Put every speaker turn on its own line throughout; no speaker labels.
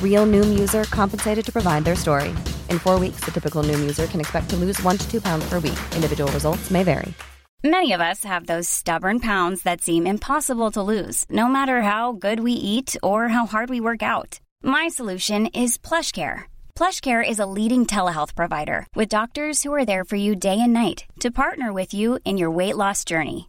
Real Noom user compensated to provide their story. In four weeks, the typical Noom user can expect to lose one to two pounds per week. Individual results may vary.
Many of us have those stubborn pounds that seem impossible to lose, no matter how good we eat or how hard we work out. My solution is PlushCare. PlushCare is a leading telehealth provider with doctors who are there for you day and night to partner with you in your weight loss journey.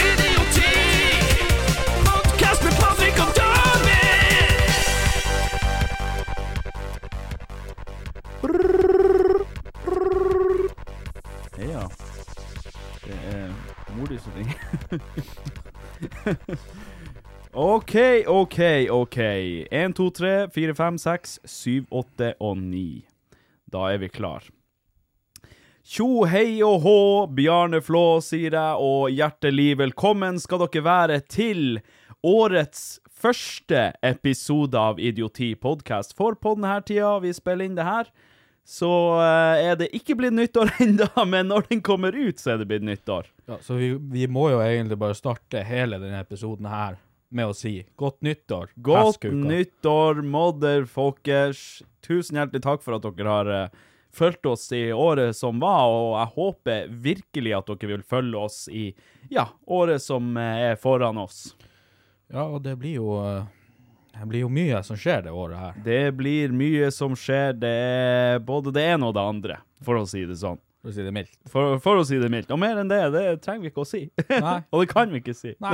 Idioti! Podkast med Patrick og David!
Ja. Det er mor di som ringer. OK, OK, OK. Én, to, tre, fire, fem, seks, syv, åtte og ni. Da er vi klar. Tjo, hei og hå, Bjarne Flå sier jeg, og hjertelig velkommen skal dere være til årets første episode av Idioti podcast. For på denne tida vi spiller inn det her, så eh, er det ikke blitt nyttår ennå, men når den kommer ut, så er det blitt nyttår.
Ja, så vi, vi må jo egentlig bare starte hele denne episoden her med å si godt nyttår.
Godt
peskuka.
nyttår, motherfuckers. Tusen hjertelig takk for at dere har uh, fulgt oss i året som var, og jeg håper virkelig at dere vil følge oss i ja, året som eh, er foran oss.
Ja, og det blir jo eh, Det blir jo mye som skjer det året her.
Det blir mye som skjer, det er både det ene og det andre, for å si det sånn.
For å si det mildt.
For, for å si det mildt. Og mer enn det, det trenger vi ikke å si.
Nei.
og det kan vi ikke si.
Nei,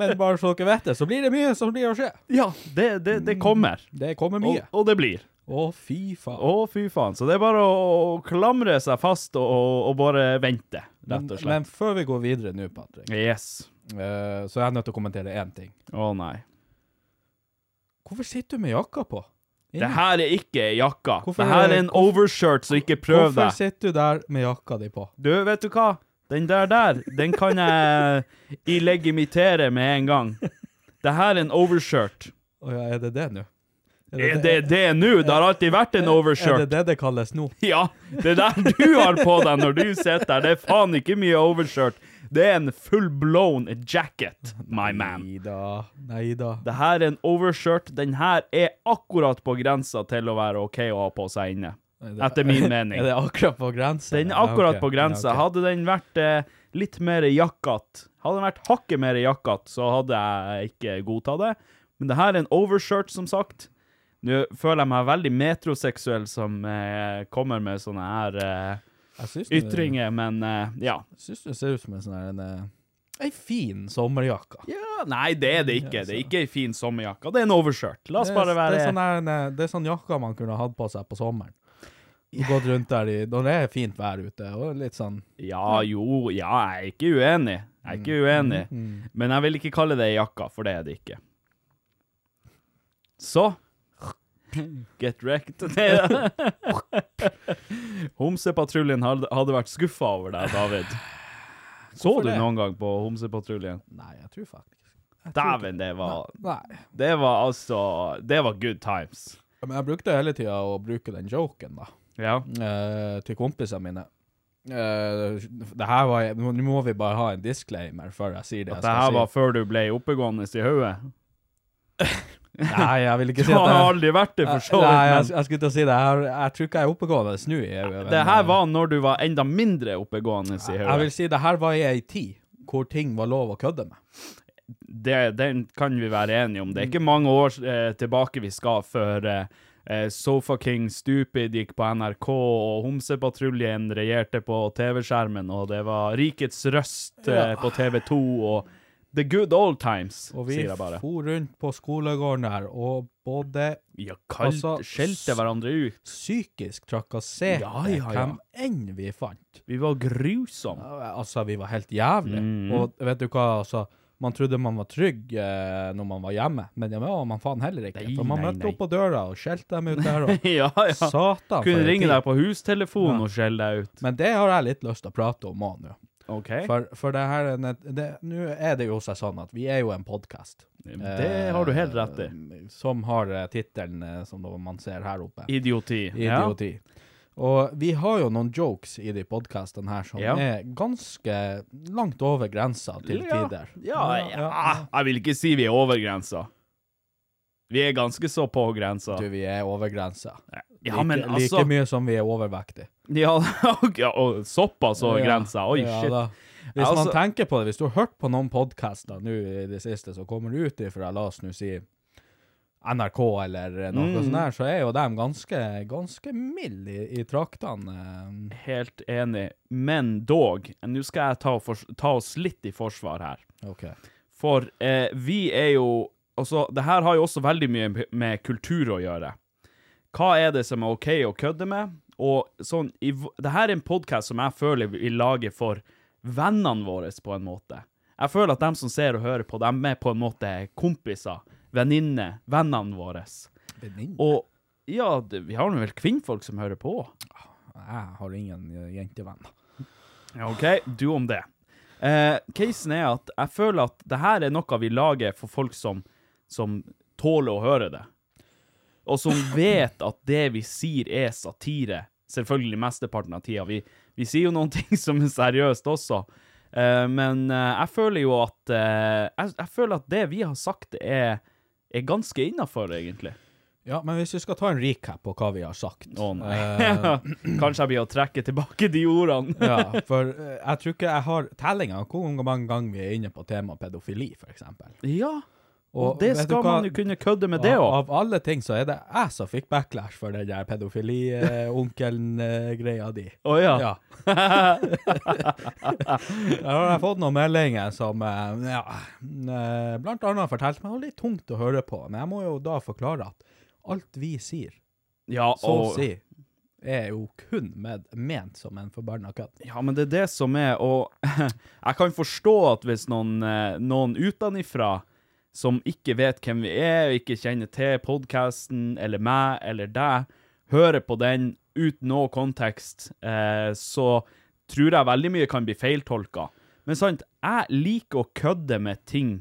men bare så dere vet det, så blir det mye som blir å skje.
Ja, det, det, det kommer.
Det kommer
Og,
mye. Å,
og det blir.
fy faen.
Å, fy faen. Så det er bare å, å klamre seg fast og, og bare vente,
Men,
rett og
men
slett.
før vi går videre nå, Patrick,
Yes.
eh, så er jeg nødt til å kommentere én ting.
Å nei.
Hvorfor sitter du med jakka på?
Det her er ikke jakka.
Hvorfor-
det her er en overshirt, så ikke prøv
Hvorfor
deg.
sitter du der med jakka di på?
Du, vet du hva? Den der der, den kan jeg illegimitere med en gang. Det her er en overshirt.
Å ja, er det det nå?
Er det det nå? Det har alltid vært en
Er det
overshirt.
det det kalles nå?
Ja, det der du har på deg når du sitter der, det er faen ikke mye overshirt. Det er en full-blown jacket, my man.
Nei da. Nei da.
Det her er en overshirt. Den her er akkurat på grensa til å være OK å ha på seg inne. Etter min mening.
Er det akkurat på grensa?
Den er
Ja,
akkurat
ok.
på grensa.
Ja, ok.
Hadde den vært eh, litt mer jakkete, hadde den vært hakket mer jakkete, så hadde jeg ikke godtatt det. Men det her er en overshirt, som sagt. Nå føler jeg meg veldig metroseksuell som eh, kommer med sånne her eh,
Jeg syns den-
ytringer, men eh, ja.
jeg Syns den ser ut som en sånn her en, eh, Ei fin sommerjakke.
ja. Nei, det er det ikke. Det er ikke ei en fin sommerjakke. Det er en overshirt. La oss
Det er-
bare være
Det er sånn, her en, eh, det er sånn jakka man kunne hatt på seg på sommeren. Gått rundt der i Når det er fint vær ute, og litt sånn
Ja, jo, ja, jeg er ikke uenig. Jeg er ikke
Mm,
uenig. Men jeg vil ikke kalle det jakka, for det er det ikke. Så Get wrecked. Homsepatruljen hadde hadde vært skuffa over deg, David. Så
Hvorfor
du
det?
noen gang på Homsepatruljen?
Nei, jeg tror faktisk
Dæven, det var
Nei.
Det var altså Det var good times.
Men jeg brukte hele tida å bruke den joken, da.
Ja.
eh, til kompisene mine. Eh, det her var Nå må vi bare ha en disclaimer før jeg sier det. jeg
At det
skal
her
si.
var før du ble oppegående i hodet?
Nei, jeg vil ikke
Du
si at
har
jeg
aldri vært det, for så
Nei, jeg,
vidt.
jeg skulle til å si det. Jeg, har- jeg tror ikke jeg er oppegående nå. Jeg,
Men det her var når du var enda mindre oppegående, i
Jeg vil
hodet.
si det her var i ei tid hvor ting var lov å kødde med.
Det- Den kan vi være enige om. Det er ikke mange år eh, tilbake vi skal før eh, eh, Sofa King Stupid gikk på NRK, og Homsepatruljen regjerte på TV-skjermen, og det var Rikets Røst eh, på TV2, og The Good Old Times,
Og vi
sier jeg bare.
for rundt på skolegården her og både
Ja, kalt,
Altså,
skjelte hverandre ut.
psykisk trakasserte
Ja, ja, ja.
hvem enn vi fant.
Vi var grusomme.
Altså, vi var helt jævlige. Og vet du hva, altså man trodde man var trygg eh, når man var hjemme, men det var man faen heller ikke.
Nei,
for man
nei,
møtte
nei.
opp på døra og skjelte dem ut der. Og
ja, ja.
Satan. for
Kunne
en
ringe
tid.
deg på hustelefonen og skjelle deg ut.
Men det har jeg litt lyst til å prate om òg nå.
OK?
For, for det her er en- det- Nå er det jo seg sånn at vi er jo en podkast.
Det har du helt rett i.
Som har eh, tittelen eh, som da man ser her oppe.
Idioti.
Idioti. Og vi har jo noen jokes i de podkastene her som
Ja.
er ganske langt over grensa til tider.
Ja, ja,
Ja, ja.
Ah, Jeg vil ikke si vi er over grensa. Vi er ganske så på grensa.
Du, vi er over grensa.
Ja, men
like,
altså
like mye som vi er overvektige.
ja, ok, ja, og Såpass over
Ja,
grensa? Oi,
ja
shit.
da. Hvis
Altså-
man tenker på det, hvis du har hørt på noen podkaster nå i det siste som kommer ut ifra, la oss nå si NRK eller noe
Mm.
sånt der, så er jo de ganske, ganske milde i, i traktene. eh.
Helt enig. Men dog, nå skal jeg ta, fors- ta oss litt i forsvar her.
OK.
For eh, vi er jo Altså, det her har jo også veldig mye med kultur å gjøre. Hva er det som er OK å kødde med? Og sånn i, v- Det her er en podkast som jeg føler vi lager for vennene våre, på en måte. Jeg føler at dem som ser og hører på, dem er på en måte kompiser, venninner, vennene våre.
Venninne?
Og ja, det, vi har nå vel kvinnfolk som hører på?
Jeg har ingen eh, jentevenner.
Ja, OK, du om det. Eh, casen er at jeg føler at det her er noe vi lager for folk som, som tåler å høre det. Og som vet at det vi sier er satire, selvfølgelig mesteparten av tida. Vi, vi sier jo noen ting som er seriøst også, eh, men eh, jeg føler jo at eh, jeg, jeg føler at det vi har sagt, er, er ganske innafor, egentlig.
Ja, men hvis vi skal ta en recap på hva vi har sagt
Å nei.
Eh,
Kanskje jeg blir å trekke tilbake de ordene.
Ja, for eh, jeg tror ikke jeg har tellinga på hvor mange ganger vi er inne på temaet pedofili, f.eks.
Ja, og det skal man jo kunne kødde med, det
Av,
òg.
av alle ting så er det jeg som fikk backlash for den der pedofili-onkelen-greia di.
Å ja.
Ja. Der har jeg fått noen meldinger som eh, ja, eh, blant annet fortalte meg det var litt tungt å høre på, men jeg må jo da forklare at alt vi sier,
Ja,
så å
og,
si, er jo kun med, ment som en forbanna kødd.
ja, men det er det som er, og jeg kan forstå at hvis noen, eh, noen utenifra som ikke vet hvem vi er, og ikke kjenner til podcasten, eller meg, eller deg, hører på den uten noe kontekst, eh, så tror jeg veldig mye kan bli feiltolka. Men sant, jeg liker å kødde med ting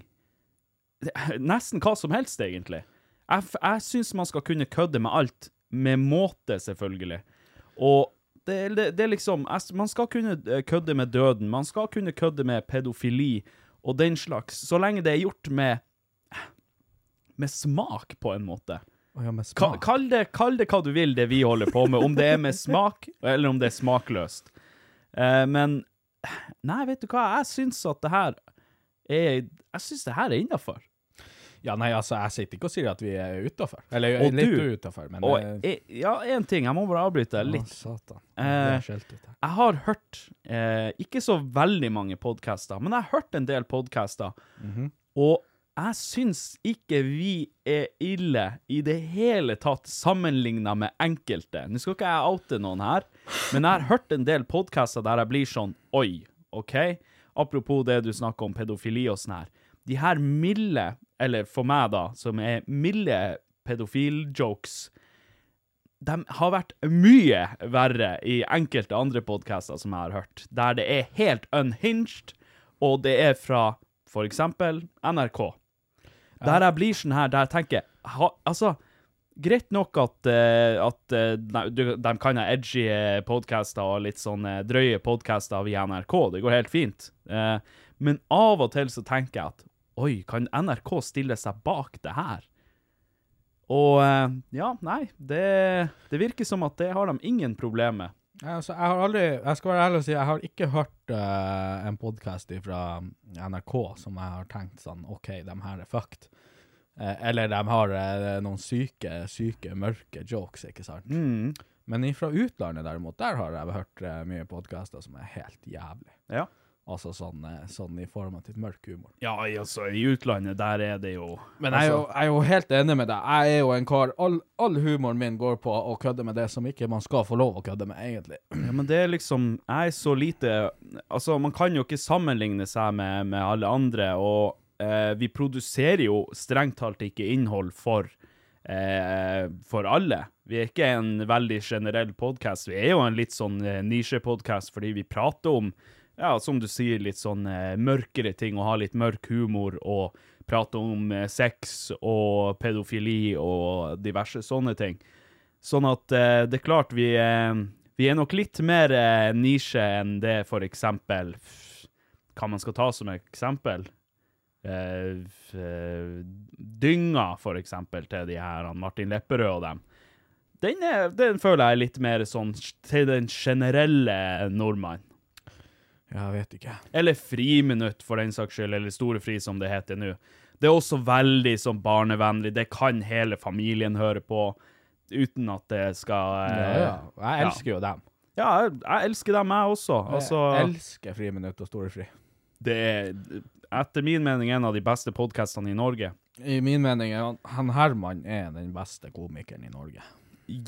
nesten hva som helst, egentlig. Jeg, f- jeg syns man skal kunne kødde med alt, med måte, selvfølgelig. Og det, det, det er liksom jeg, s- Man skal kunne eh, kødde med døden, man skal kunne kødde med pedofili og den slags, så lenge det er gjort med med smak, på en måte.
Å ja, med
Ka-
smak.
Kall det, kall det hva du vil, det vi holder på med, om det er med smak, eller om det er smakløst. Eh, men Nei, vet du hva, jeg syns at det her er Jeg syns det her er innafor.
Ja, nei, altså, jeg sitter ikke og sier at vi er utafor. Eller
Og
litt
du-
utafor, men
Og
eh,
eh, ja, én ting, jeg må bare avbryte deg litt.
Å, satan.
Eh,
Det er skjelt ut her.
Jeg har hørt, eh, ikke så veldig mange podcaster, men jeg har hørt en del podcaster, og jeg syns ikke vi er ille i det hele tatt sammenlignet med enkelte. Nå skal ikke jeg oute noen her, men jeg har hørt en del podcaster der jeg blir sånn, oi, ok? Apropos det du snakker om pedofili og sånn her. De her milde, eller for meg da, som er milde pedofiljokes, de har vært mye verre i enkelte andre podcaster som jeg har hørt, der det er helt unhinged, og det er fra for eksempel NRK. Der jeg blir sånn her, der jeg tenker, ha, altså, greit nok at, eh, at eh, nei, du, de kan ha edgy eh, podcaster og litt sånn eh, drøye podcaster via NRK, det går helt fint. Eh, men av og til så tenker jeg at, oi, kan NRK stille seg bak det her? Og eh, ja, nei, det, det virker som at det har de ingen problemer med.
Ja, altså, jeg har aldri Jeg skal være ærlig og si jeg har ikke hørt eh, en podkast fra NRK som jeg har tenkt sånn OK, de her er fucked. Eh, eller de har eh, noen syke, syke, mørke jokes, ikke sant? Men fra utlandet, derimot, der har jeg hørt eh, mye podkaster som er helt jævlig.
Ja.
Altså sånn, eh, sånn i form av til mørk humor.
Ja, altså, i utlandet, der er det jo Altså,
Men jeg er, jo, jeg er jo helt enig med deg. Jeg er jo en kar All, all humoren min går på å kødde med det som ikke man skal få lov å kødde med, egentlig.
Ja, men det er liksom Jeg er så lite Altså, man kan jo ikke sammenligne seg med, med alle andre, og eh, vi produserer jo strengt talt ikke innhold for eh, for alle. Vi er ikke en veldig generell podkast. Vi er jo en litt sånn eh, nisjepodkast fordi vi prater om, ja, som du sier, litt sånn eh, mørkere ting og har litt mørk humor og prater om eh, sex og pedofili og diverse sånne ting. Sånn at eh, det er klart vi, eh, vi er nok litt mer eh, nisje enn det for eksempel f- Hva man skal ta som eksempel? Eh, f- eh, dynga, for eksempel, til de her han Martin Lepperød og dem. Den, er, den føler jeg er litt mer sånn sj- til den generelle nordmann.
Jeg vet ikke.
Eller Friminutt, for den saks skyld, eller Store Fri, som det heter nå. Det er også veldig sånn barnevennlig. Det kan hele familien høre på, uten at det skal
Ja,
eh,
ja. Jeg elsker jo dem.
Ja, jeg, jeg elsker dem, jeg også. Altså,
jeg elsker Friminutt og Storefri.
det er etter min mening en av de beste podkastene i Norge.
I min mening er han, han Herman er den beste komikeren i Norge.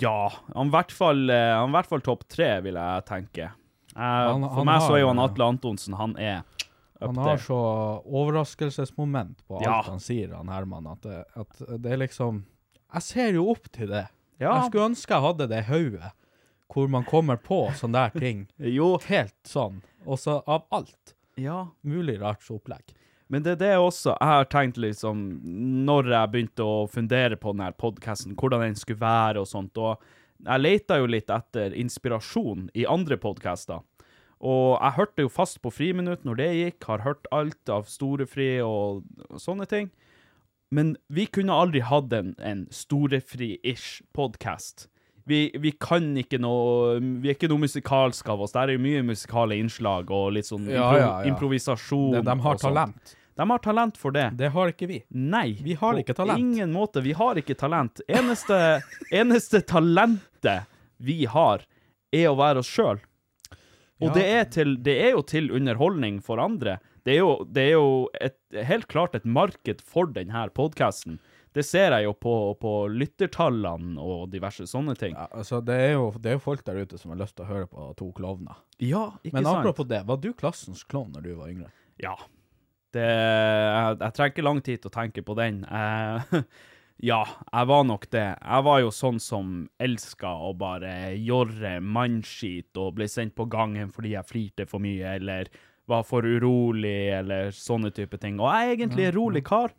Ja. Han i hvert fall, eh, han i hvert fall topp tre, vil jeg tenke. Eh,
Han-
for
han
meg så er jo
har-
han Atle Antonsen, han er up
Han har
there.
så overraskelsesmoment på alt
Ja.
han sier, han Herman, at det, at det er liksom Jeg ser jo opp til det.
Ja.
Jeg skulle ønske jeg hadde det hodet hvor man kommer på sånne der ting.
Jo,
Helt sånn. Og så av alt
ja.
mulig rart så opplegg.
Men det er det også jeg har tenkt, liksom, når jeg begynte å fundere på denne podkasten, hvordan den skulle være og sånt. Og jeg leita jo litt etter inspirasjon i andre podkaster. Og jeg hørte jo fast på Friminutt når det gikk, har hørt alt av Storefri og, og sånne ting. Men vi kunne aldri hatt en, en storefri-ish podkast. Vi, vi kan ikke noe Vi er ikke noe musikalske av oss. Det er jo mye musikale innslag og litt sånn
Ja,
impro
ja, ja.
improvisasjon.
De, de har
og sånt.
talent.
De har talent for det.
Det har ikke vi.
Nei.
Vi har
på
ikke talent.
ingen måte. Vi har ikke talent. Eneste, eneste talentet vi har, er å være oss sjøl. Og
Ja.
det, er til, det er jo til underholdning for andre. Det er jo, det er jo et, helt klart et marked for denne podkasten. Det ser jeg jo på, på lyttertallene og diverse sånne ting.
Ja, altså, det er, jo, det er jo folk der ute som har lyst til å høre på to klovner.
Ja, ikke
Men
sant?
apropos det, var du klassens klovn når du var yngre?
Ja. Det, jeg, jeg trenger ikke lang tid til å tenke på den. Eh, ja, jeg var nok det. Jeg var jo sånn som elska å bare jorre mannskit og ble sendt på gangen fordi jeg flirte for mye eller var for urolig eller sånne type ting. Og jeg er egentlig en rolig kar,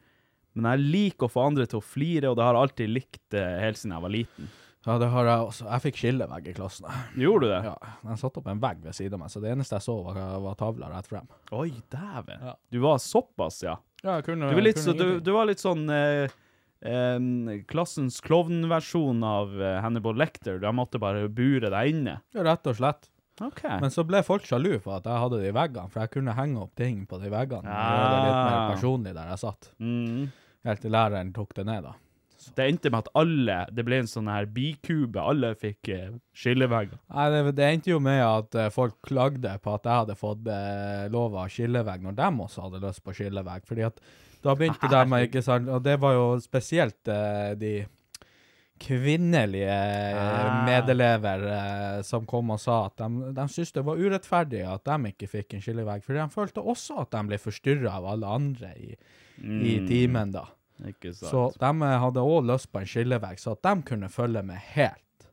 men jeg liker å få andre til å flire, og det har jeg alltid likt eh, helt siden jeg var liten.
Ja, det har jeg også. Jeg fikk skillevegg i klassen.
Gjorde du det?
Ja, jeg satt opp en vegg ved siden av meg, så det eneste jeg så var, var tavla rett frem.
Oi, dæven.
Ja.
Du var såpass, ja.
Ja, jeg kunne,
Du var litt, så, du, du var litt sånn eh, em, klassens klovnversjon av eh, Hannibal Lecter. De måtte bare bure deg inne.
Ja, rett og slett.
OK.
Men så ble folk sjalu på at jeg hadde de veggene, for jeg kunne henge opp ting på de veggene. og Gjøre det litt mer
Ah.
personlig der jeg satt.
Mm.
Helt til læreren tok det ned, da.
Det endte med at alle Det ble en sånn her bikube. Alle fikk eh, skillevegger.
Nei, det, det endte jo med at eh, folk klagde på at jeg hadde fått eh, lov av skillevegg, når de også hadde lyst på skillevegg. Fordi at da begynte de, ikke sant, og det var jo spesielt eh, de kvinnelige eh,
Ah.
medelever eh, som kom og sa at de, de syntes det var urettferdig at de ikke fikk en skillevegg, fordi de følte også at de ble forstyrra av alle andre i, i timen, da.
Ikke sant.
Så de eh, hadde òg lyst på en skillevegg, så at de kunne følge med helt.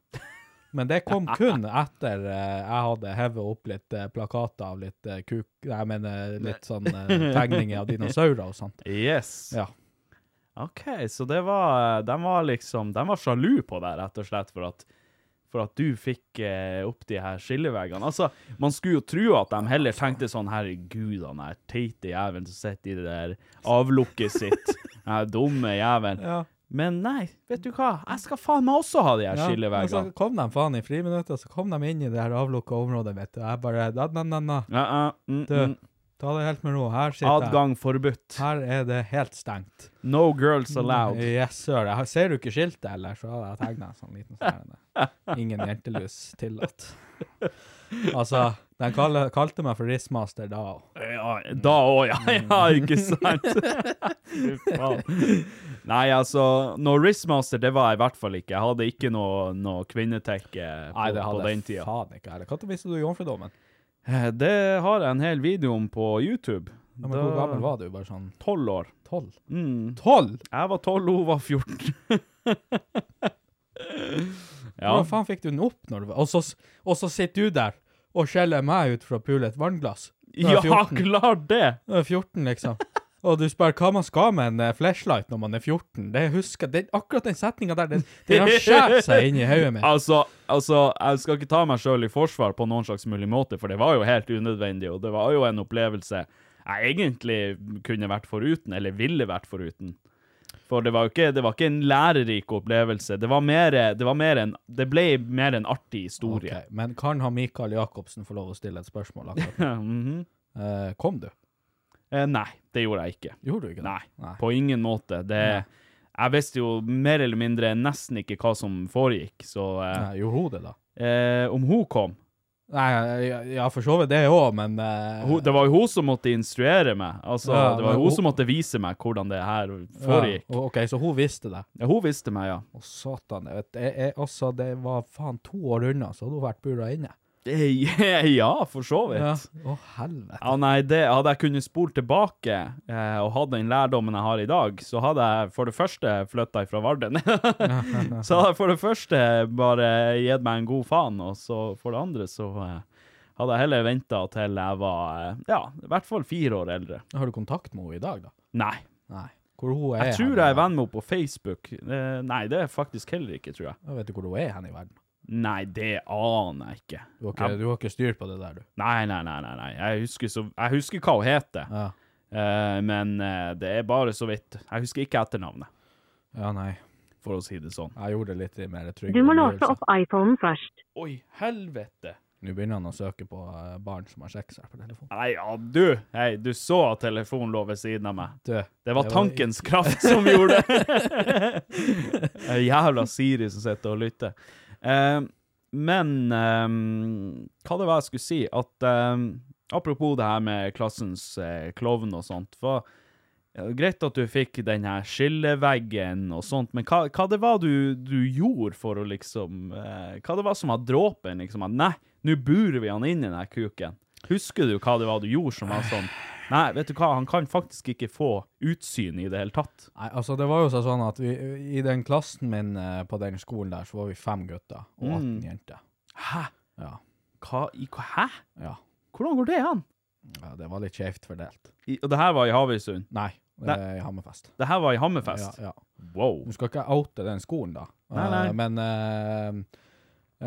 Men det kom kun etter eh, jeg hadde hevet opp litt eh, plakater av litt eh, kuk... Jeg mener litt sånn eh, tegninger av dinosaurer og sånt.
Yes.
Ja.
OK, så det var De var liksom De var sjalu på deg, rett og slett, for at for at du fikk eh, opp de her skilleveggene. Altså, man skulle jo tro at de heller tenkte sånn Herregud, han her teite jævelen som sitter i det der avlukket sitt. Den her dumme jævelen. Men nei, vet du hva? Jeg skal faen meg også ha de her
og så
skillevegene.
kom de faen i friminuttet, så kom de inn i det her avlukka området mitt. Og jeg bare da, na, na, na.
Ja, ja, mm,
Du,
mm.
ta det helt med ro. Her sitter jeg.
Adgang forbudt.
Her Mm, er det helt stengt.
No girls allowed.
Yes, sir. Jeg har- ser du ikke skiltet, eller? Så hadde jeg tegna en sånn liten stjerne. Ingen jentelus tillatt. Altså, de kalle, kalte meg for Rismaster da òg.
Ja, da òg, ja. ja. Ikke sant? Fy faen. Nei, altså, noe Rizzmaster, det var jeg i hvert fall ikke. Jeg hadde ikke noe, noe kvinnetekke på,
Nei, det hadde
på den
jeg
tida.
faen ikke. Eller når mistet du jomfrudommen?
Eh, Det har jeg en hel video om på YouTube.
Ja, men Hvor gammel var du? Bare sånn
Tolv år.
tolv?
Mm.
Tolv?!
Jeg var tolv, hun var 14. ja.
Hvordan faen fikk du den opp når du var Og så, og så sitter du der og skjeller meg ut for å pule et vannglass. Når jeg er
ja,
14.
klart det!
Når jeg er 14, liksom. Og du spør hva man skal med en eh, flashlight når man er 14. Det husker det, Akkurat den setninga der, den, den har skåret seg inn i hodet mitt.
Altså, altså, jeg skal ikke ta meg sjøl i forsvar på noen slags mulig måte, for det var jo helt unødvendig, og det var jo en opplevelse jeg egentlig kunne vært foruten, eller ville vært foruten. For det var jo ikke, det var ikke en lærerik opplevelse. Det var mer, det var mer en Det ble mer en artig historie.
Ok, Men kan han Mikael Jacobsen få lov å stille et spørsmål? akkurat?
Mhm.
Eh, kom du?
eh, nei, det gjorde jeg ikke.
Gjorde du ikke det?
Nei,
Nei.
på ingen måte. Det, jeg visste jo mer eller mindre nesten ikke hva som foregikk, så
Nei, Gjorde hun det, da?
eh, eh, Om hun kom
Nei, ja, ja, for så vidt det òg, men eh,
Ho- Det var jo hun som måtte instruere meg. Altså,
Ja,
det var jo
men
hun
hun-
som måtte vise meg hvordan det her
ja,
foregikk.
o- OK, så hun visste det.
Ja, hun visste meg, ja.
Å, satan. Jeg vet, jeg, jeg, altså, det var faen to år unna, så hadde hun vært bura inne.
Eh, ja, for så vidt.
Ja.
Ja.
Å, helvete.
nei, det, Hadde jeg kunnet spole tilbake eh, og hatt den lærdommen jeg har i dag, så hadde jeg for det første flytta ifra Varden. så hadde jeg for det første bare gitt meg en god faen, og så for det andre så eh, hadde jeg heller venta til jeg var eh, ja, i hvert fall fire år eldre.
Har du kontakt med henne i dag, da?
Nei.
Nei. Hvor hun er
Jeg tror
hen i
jeg er
verden.
venn med henne på Facebook. Eh, nei, det er jeg faktisk heller ikke, tror jeg.
Jeg vet du hvor hun er hen i verden?
Nei, det aner jeg ikke.
Du har ikke,
Jeg-
du har ikke styr på det der, du.
Nei, nei, nei, nei, nei. Jeg husker, så, jeg husker hva hun heter,
Ja,
Eh, men eh, det er bare så vidt. Jeg husker ikke etternavnet,
ja nei.
for å si det sånn.
Jeg gjorde det litt i mer trygg
Du må låse
omgivelser.
opp iPhonen først.
Oi, helvete!
Nå begynner han å søke på eh, barn som har sex her på telefonen.
Nei, ja, du! Hei, du så at telefonen lå ved siden av meg.
Du,
Det var
Det var
tankens kraft som gjorde det. Eh, Jævla Siri som sitter og lytter. Eh, men eh, hva det var jeg skulle si at eh, Apropos det her med klassens eh, klovn og sånt. For, eh, greit at du fikk den her skilleveggen og sånt, men hva, hva det var du, du gjorde for å liksom eh, Hva det var som var dråpen? liksom, at Nei, nå burer vi han inn i den her kuken. Husker du hva det var du gjorde som var sånn Nei, vet du hva, han kan faktisk ikke få utsyn i det hele tatt.
Nei, altså det var jo så sånn at vi, i den klassen min eh, på den skolen der, så var vi fem gutter og 18 jenter.
Hæ?
Ja.
Hva? I, hva- hæ?
Ja.
Hvordan går det an?
ja, det var litt skjevt fordelt.
I, og det her var i Havøysund.
Nei, det er i Hammerfest.
Det her var i Hammerfest.
Ja, ja.
Wow.
Nå skal ikke jeg oute den skolen, da.
Nei, nei.
Eh, men eh,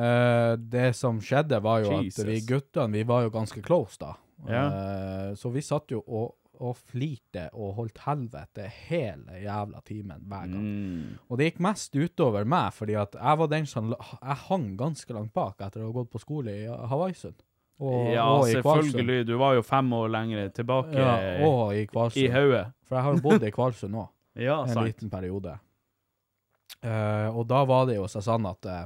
eh, det som skjedde, var jo
Jesus.
at vi guttene vi var jo ganske close, da.
Ja.
Eh, så vi satt jo og, og flirte og holdt helvete hele jævla timen hver gang.
Mm.
Og det gikk mest utover meg, fordi at jeg var den som la- Jeg hang ganske langt bak etter å ha gått på skole i Hawaiisund. Og,
Ja,
og i Kvalsund.
selvfølgelig. Du var jo fem år lenger tilbake
Ja, altså.
eh,
og i
i
Kvalsund.
hodet.
For jeg har jo bodd i Kvalsund òg
Ja,
en
sant.
liten periode. Eh, og da var det jo så sånn at eh,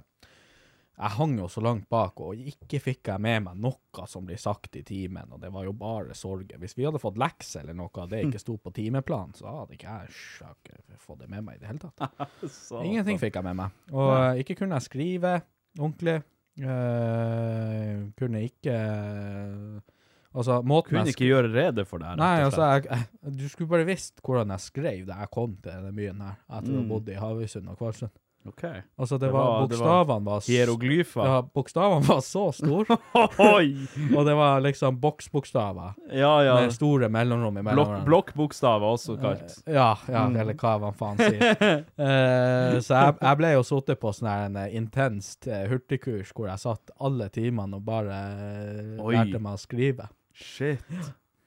jeg hang jo så langt bak, og ikke fikk jeg med meg noe som blir sagt i timen, og det var jo bare sorger. Hvis vi hadde fått lekser eller noe av det ikke sto på timeplanen, så hadde ikke jeg sjak, fått det med meg i det hele tatt.
Så-
Ingenting fikk jeg med meg. Og eh, ikke kunne jeg skrive ordentlig. eh, kunne ikke Altså, måten
Kunne
jeg
ikke gjøre rede for det her.
Nei,
rett og
altså,
slett.
jeg, jeg- du skulle bare visst hvordan jeg skrev da jeg kom til denne byen her, etter å ha
Mm.
bodd i Havøysund og Kvalsund.
Ok.
Altså, det,
Det
var,
var- det var
Bokstavene var, s-
Hieroglyfer.
Ja, bokstavene var så store,
Oi!
og det var liksom boksbokstaver
Ja, ja.
med store mellomrom imellom.
Blokk- Mm.
hverandre.
Blokkbokstaver, også kalt.
Ja, ja, eller hva man faen sier. Eh, så jeg, jeg ble jo sittet på sånn her en eh, intenst eh, hurtigkurs hvor jeg satt alle timene og bare eh,
Oi.
lærte meg å skrive.
Shit.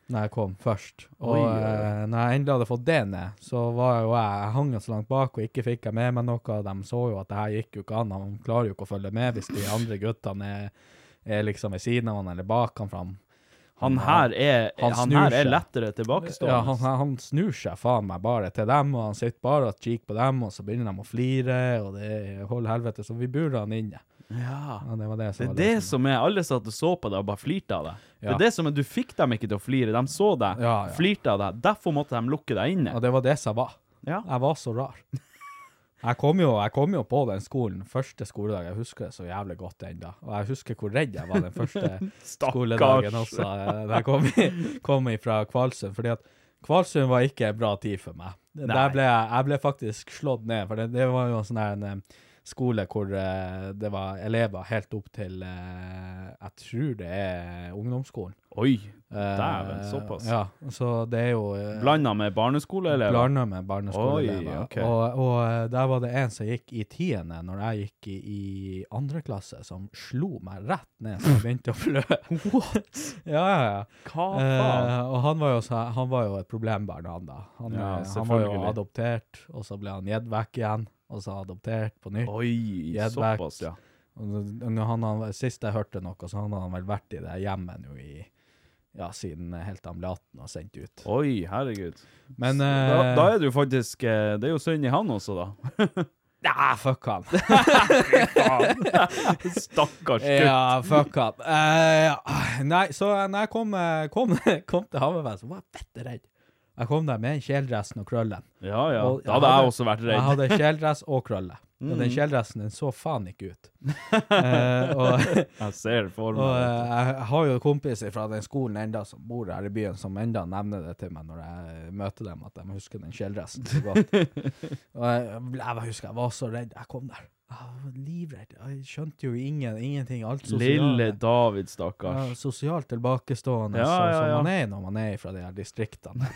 når jeg kom først. Og
Oi, oi.
eh, når jeg endelig hadde fått det ned, så var jo jeg, jeg hang jo så langt bak, og ikke fikk jeg med meg noe. De så jo at det her gikk jo ikke an. Han klarer jo ikke å følge med hvis de andre guttene er, er liksom ved siden av han eller bak han fram.
Han her er,
Han
han
snur
her er
seg.
lettere tilbakestående.
Ja, han, han- han snur seg faen meg bare til dem, og han sitter bare og kikker på dem, og så begynner de å flire, og det er hold helvete, så vi burde han inne.
Ja.
Ja, det var det
Det
som
er
var
det
som-
som er Alle satt og så på deg og bare flirte av deg. Det
Ja.
er det som er, Du fikk dem ikke til å flire. De så deg,
Ja, ja.
flirte av deg. Derfor måtte de lukke deg inne.
Og det var det som var.
Ja.
Jeg var så rar. Jeg kom, jo, jeg kom jo på den skolen første skoledag, jeg husker det så jævlig godt ennå. Og jeg husker hvor redd jeg var den første skoledagen også, eh, da jeg kom, i, kom fra Kvalsund. fordi at Kvalsund var ikke en bra tid for meg.
Nei.
Der ble jeg, jeg ble faktisk slått ned, for det, det var jo en sånn her en eh, skole hvor eh, det var elever helt opp til eh, Jeg tror det er ungdomsskolen.
Oi.
Eh,
Dæven, såpass.
Ja, så det er jo eh,
Blanda med barneskoleelever?
Blanda med
Oi,
barneskoleelever.
ok.
Og, og eh, der var det en som gikk i tiende når jeg gikk i, i andre klasse, som slo meg rett ned så jeg begynte å blø. What? ja, ja, ja.
Hva faen?
Eh, og han var, jo så, han var jo et problembarn, han da.
Ja,
Han, eh, han var jo
selvfølgelig.
adoptert, og så ble han gitt vekk igjen, og så adoptert på nytt.
Oi,
Gjedback.
såpass, ja.
Og så- når han, han, sist jeg hørte noe, så hadde han vel vært i det hjemmet nå i ja, siden eh, helt til han ble 18 og sendt ut.
Oi, herregud.
Men
da,
eh,
da er det jo faktisk eh, Det er jo synd i han også, da.
Ja, eh, fuck han.
Stakkars gutt.
Ja, fuck han. Eh, ja. Nei, så når jeg kom, eh, kom, kom til Hammerfest, så var jeg fett redd. Jeg kom der med en kjeledressen og krøllen.
Ja ja.
Og
Da hadde jeg også vært
Jeg
redd. Mm.
hadde kjeledress og krølle. Og den kjeledressen den så faen ikke ut. Eh, og
Jeg ser det for
og
meg.
eh, jeg har jo kompiser fra den skolen enda som bor her i byen, som enda nevner det til meg når jeg eh, møter dem, at de husker den kjeledressen så godt. og jeg, jeg husker jeg var så redd. Jeg kom der. Jeg var livredd. Jeg skjønte jo ingen, ingenting. Alt sosiale.
Lille David,
Ja,
stakkars.
sosialt tilbakestående,
Ja,
sånn
ja,
som
ja.
man er når man er fra de her distriktene.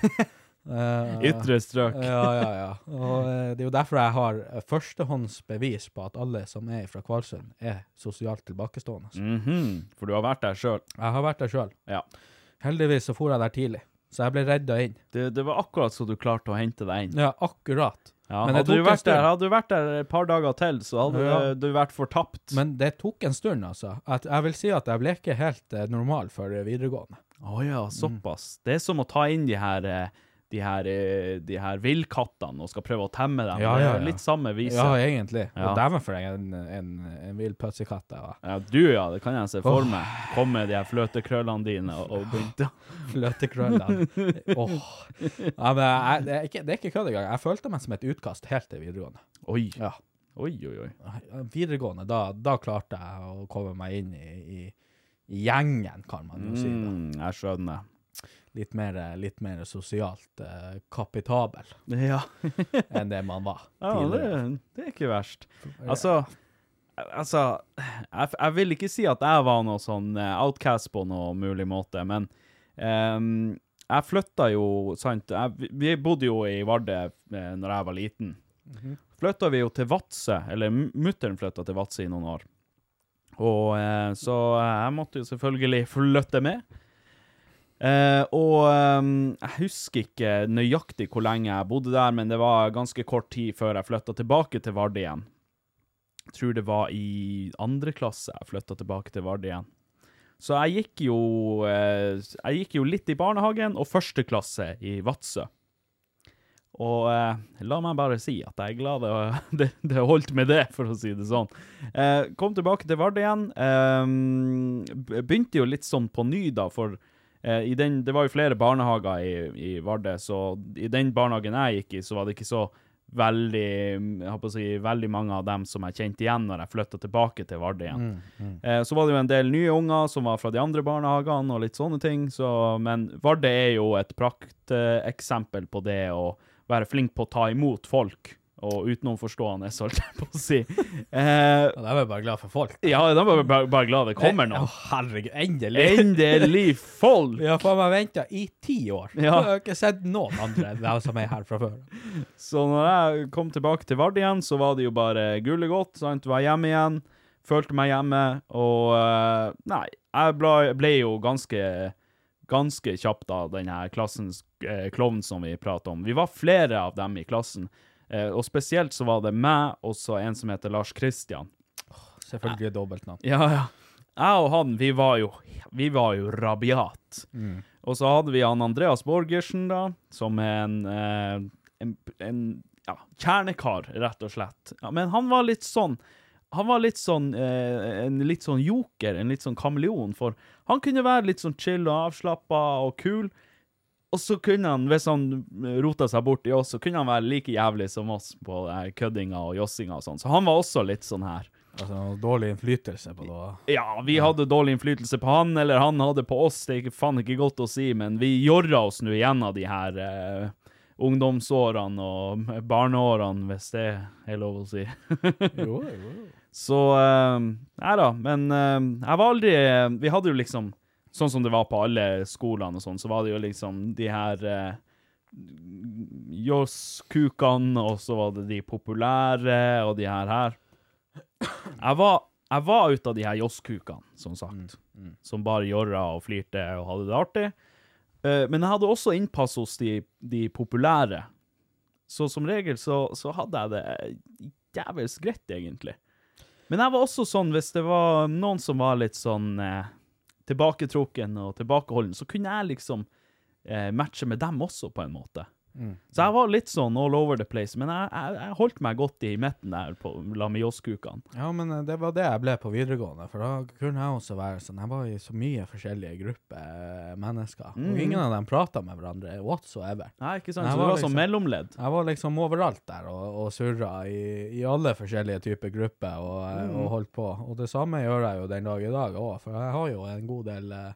Eh,
Ytre strøk.
ja, ja, ja. Og eh, det er jo derfor jeg har eh, førstehåndsbevis på at alle som er fra Kvalsund, er sosialt tilbakestående.
Mhm, For du har vært der sjøl.
Jeg har vært der sjøl.
Ja.
Heldigvis så for jeg der tidlig, så jeg ble redda inn.
Det, det var akkurat så du klarte å hente deg inn.
Ja, akkurat.
Ja,
Men det
hadde, du
tok en
vært der,
stund.
hadde du vært der et par dager til, så hadde
Ja.
du, du vært fortapt.
Men det tok en stund, altså. At jeg vil si at jeg ble ikke helt eh, normal for eh, videregående.
Å ja,
Mm.
såpass. Det er som å ta inn de her eh, de her, eh, de her villkattene og skal prøve å temme dem.
Ja,
Det er
ja, ja.
Litt samme vise.
Ja, egentlig.
Ja.
Og dæven for en, en, en vill pøssekatt jeg var.
Ja, du ja, det kan jeg se for meg. Kom med de her fløtekrøllene dine og, og begynte.
Fløtekrøllene. Åh. Ja, men jeg, det, er ikke, det er ikke kødd engang. Jeg følte meg som et utkast helt til videregående.
Oi,
Ja.
oi, oi. oi.
Videregående, da, da klarte jeg å komme meg inn i, i, i gjengen, kan man jo si. Da.
Mm, jeg skjønner.
Litt, mer, litt mer sosialt eh, kapitabel
Ja,
enn det man var
ja det,
tidligere.
det er ikke verst. Altså, altså jeg, jeg vil ikke si at jeg var noe sånn eh, outcast på noe mulig måte, men ehm, jeg flytta jo, sant jeg, vi- Vi bodde jo i Vardø eh, når jeg var liten. Flytta vi jo til Vadsø, eller mutter'n flytta til Vadsø i noen år. Og eh, Så jeg måtte jo selvfølgelig flytte med. Eh, og ehm, jeg husker ikke nøyaktig hvor lenge jeg bodde der, men det var ganske kort tid før jeg flytta tilbake til Vardø igjen. Jeg tror det var i andre klasse jeg flytta tilbake til Vardø igjen. Så jeg gikk jo eh, Jeg gikk jo litt i barnehagen og første klasse i Vadsø. Og eh, la meg bare si at jeg er glad det, det, det holdt med det, for å si det sånn. Eh, kom tilbake til Vardø igjen. Eh, be- begynte jo litt sånn på ny, da, for eh, i den, det var jo flere barnehager i, i Vardø, så i den barnehagen jeg gikk i, så var det ikke så veldig jeg håper å si, veldig mange av dem som jeg kjente igjen når jeg flytta tilbake til Vardø igjen. Eh, så var det jo en del nye unger som var fra de andre barnehagene og litt sånne ting, så, men Vardø er jo et prakteksempel på det å være flink på å ta imot folk. Og utenomforstående, så holdt jeg på å si. Eh,
Og da er jeg bare glad for folk.
ja, da var jeg bare, bare glad det kommer
Å,
noe.
herregud, endelig!
Endelig folk!
Vi har faen meg venta i ti år.
Ja.
Jeg har ikke sett noen andre enn dem som er her fra før.
Så når jeg kom tilbake til Vard igjen, så var det jo bare gullet godt, sant? Var hjemme igjen, følte meg hjemme, og eh, nei, jeg ble, ble jo ganske ganske kjapt av denne klassens eh, klovn som vi prater om. Vi var flere av dem i klassen, eh, og spesielt så var det meg og så en som heter Lars Kristian.
Selvfølgelig dobbeltnavn.
Ja, ja. Jeg og han, vi var jo, vi var jo rabiat. Og så hadde vi han Andreas Borgersen, da, som er en, eh, en, en ja, kjernekar, rett og slett. Ja, men han var litt sånn han var litt sånn eh, en litt sånn joker, en litt sånn kameleon, for han kunne være litt sånn chill og avslappa og kul, og så kunne han, hvis han rota seg bort i oss, så kunne han være like jævlig som oss på eh, køddinga og jossinga og sånn. Så han var også litt sånn her.
Altså, noe dårlig innflytelse på det.
Ja, vi hadde dårlig innflytelse på han, eller han hadde på oss. Det er ikke- faen ikke godt å si, men vi jorra oss nå igjennom de her eh, ungdomsårene og barneårene, hvis det er lov å si.
Jo, jo, jo.
Så eh, Nei da, men eh, jeg var aldri Vi hadde jo liksom Sånn som det var på alle skolene og sånn, så var det jo liksom de her eh, Joss-kukene, og så var det de populære, og de her her. Jeg var, jeg var ute av de her Joss-kukene, som sagt. Som bare jorra og flirte og hadde det artig. Eh, men jeg hadde også innpass hos de, de populære. Så som regel så, så hadde jeg det eh, jævels greit, egentlig. Men jeg var også sånn, hvis det var noen som var litt sånn eh, tilbaketrukken og tilbakeholden, så kunne jeg liksom eh, matche med dem også, på en måte. Så jeg var litt sånn all over the place, men jeg, jeg, jeg holdt meg godt i midten der på lamioskukene.
Ja, men eh, det var det jeg ble på videregående, for da kunne jeg også være sånn. Jeg var i så mye forskjellige grupper eh, mennesker,
Mm.
og ingen av dem prata med hverandre whatsoever.
Nei, ikke sant? Så
Nei, var
det var
liksom-
sånn mellomledd.
Jeg var liksom overalt der og, og surra i, i alle forskjellige typer grupper og, eh,
Mm.
og holdt på. Og det samme gjør jeg jo den dag i dag òg, for jeg har jo en god del eh,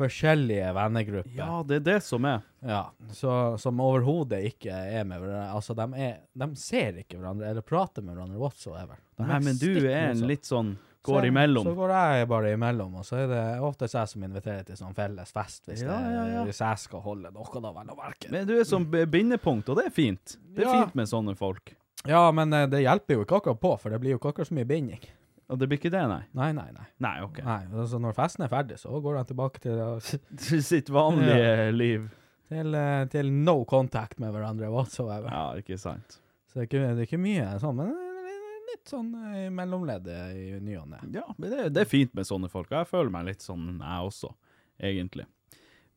forskjellige vennegrupper.
Ja, det er det som er.
Ja, så, som overhodet ikke er med hverandre. Altså, de, er, de ser ikke hverandre eller prater med hverandre whatsoever. De
Nei, men du
stikk
er en
motsatt.
litt sånn
Så-
går
Så
imellom.
går jeg bare imellom, og så er det oftest jeg som inviterer til sånn felles fest, hvis,
Ja,
det,
ja, ja.
hvis jeg skal holde noe, da vel å merke.
Men du er som b- bindepunkt, og det er fint. Det er
Ja.
fint med sånne folk.
Ja, men eh, det hjelper jo ikke akkurat på, for det blir jo ikke akkurat så mye binding.
Og det blir ikke det, nei.
Nei, nei, nei.
Nei, OK.
Nei, altså Når festen er ferdig, så går de tilbake til,
Sitt vanlige liv.
til, eh, til no contact med hverandre whatsoever.
Ja, ikke sant.
Så det er, ikke, det er ikke mye sånn, men det er litt sånn eh, i mellomleddet i ny og ne.
Ja, men det, det er fint med sånne folk, og jeg føler meg litt sånn, jeg også, egentlig.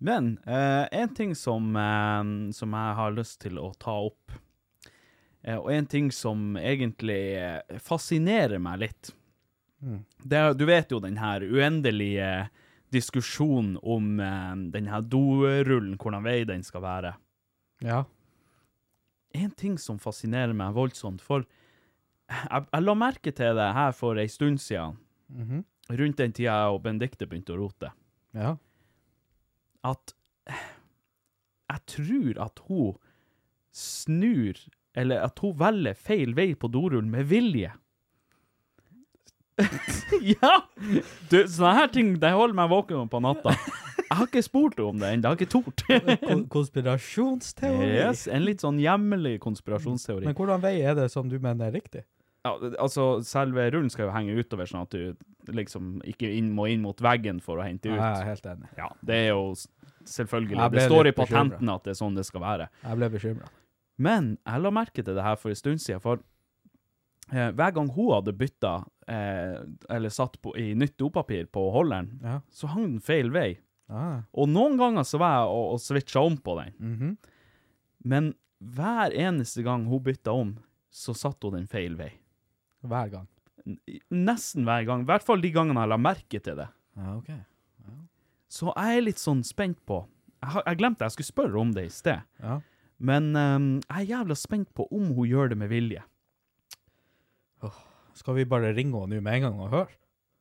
Men eh, en ting som, eh, som jeg har lyst til å ta opp, eh, og en ting som egentlig eh, fascinerer meg litt, det, er- du vet jo den her uendelige diskusjonen om eh, den her dorullen, hvordan vei den skal være.
Ja.
en ting som fascinerer meg voldsomt, for jeg, jeg la merke til det her for ei stund siden, rundt den tida jeg og Benedicte begynte å rote,
mhm, Ja.
at jeg tror at hun snur, eller at hun velger feil vei på dorullen med vilje. ja! Du, sånne her ting det holder meg våken på natta. Jeg har ikke spurt henne om det ennå, jeg har ikke tort.
Kon- Konspirasjonsteori.
Yes, en litt sånn hjemmelig konspirasjonsteori.
Men hvordan vei er det som du mener er riktig?
Ja, altså, selve rullen skal jo henge utover, sånn at du liksom ikke inn, må inn mot veggen for å hente
Jeg er
ut.
helt enig.
Ja, det er jo s- selvfølgelig.
Jeg ble
Det står i
litt bekymret.
patenten at det er sånn det skal være.
Jeg ble bekymra.
Men jeg la merke til det her for en stund siden, for eh, hver gang hun hadde bytta eh, eller satt på, i nytt dopapir på holderen,
Ja.
så hang den feil vei.
Ah. mhm.
Og noen ganger så var jeg og, og switcha om på den. Men hver eneste gang hun bytta om, så satt hun den feil vei.
Hver gang.
Nesten hver gang. I hvert fall de gangene jeg la merke til det.
Ja, ok.
Så jeg er litt sånn spent på Jeg, har, jeg glemte jeg skulle spørre om det i sted.
Ja.
Men ehm, jeg er jævla spent på om hun gjør det med vilje.
Skal vi bare ringe henne nå med en gang og høre?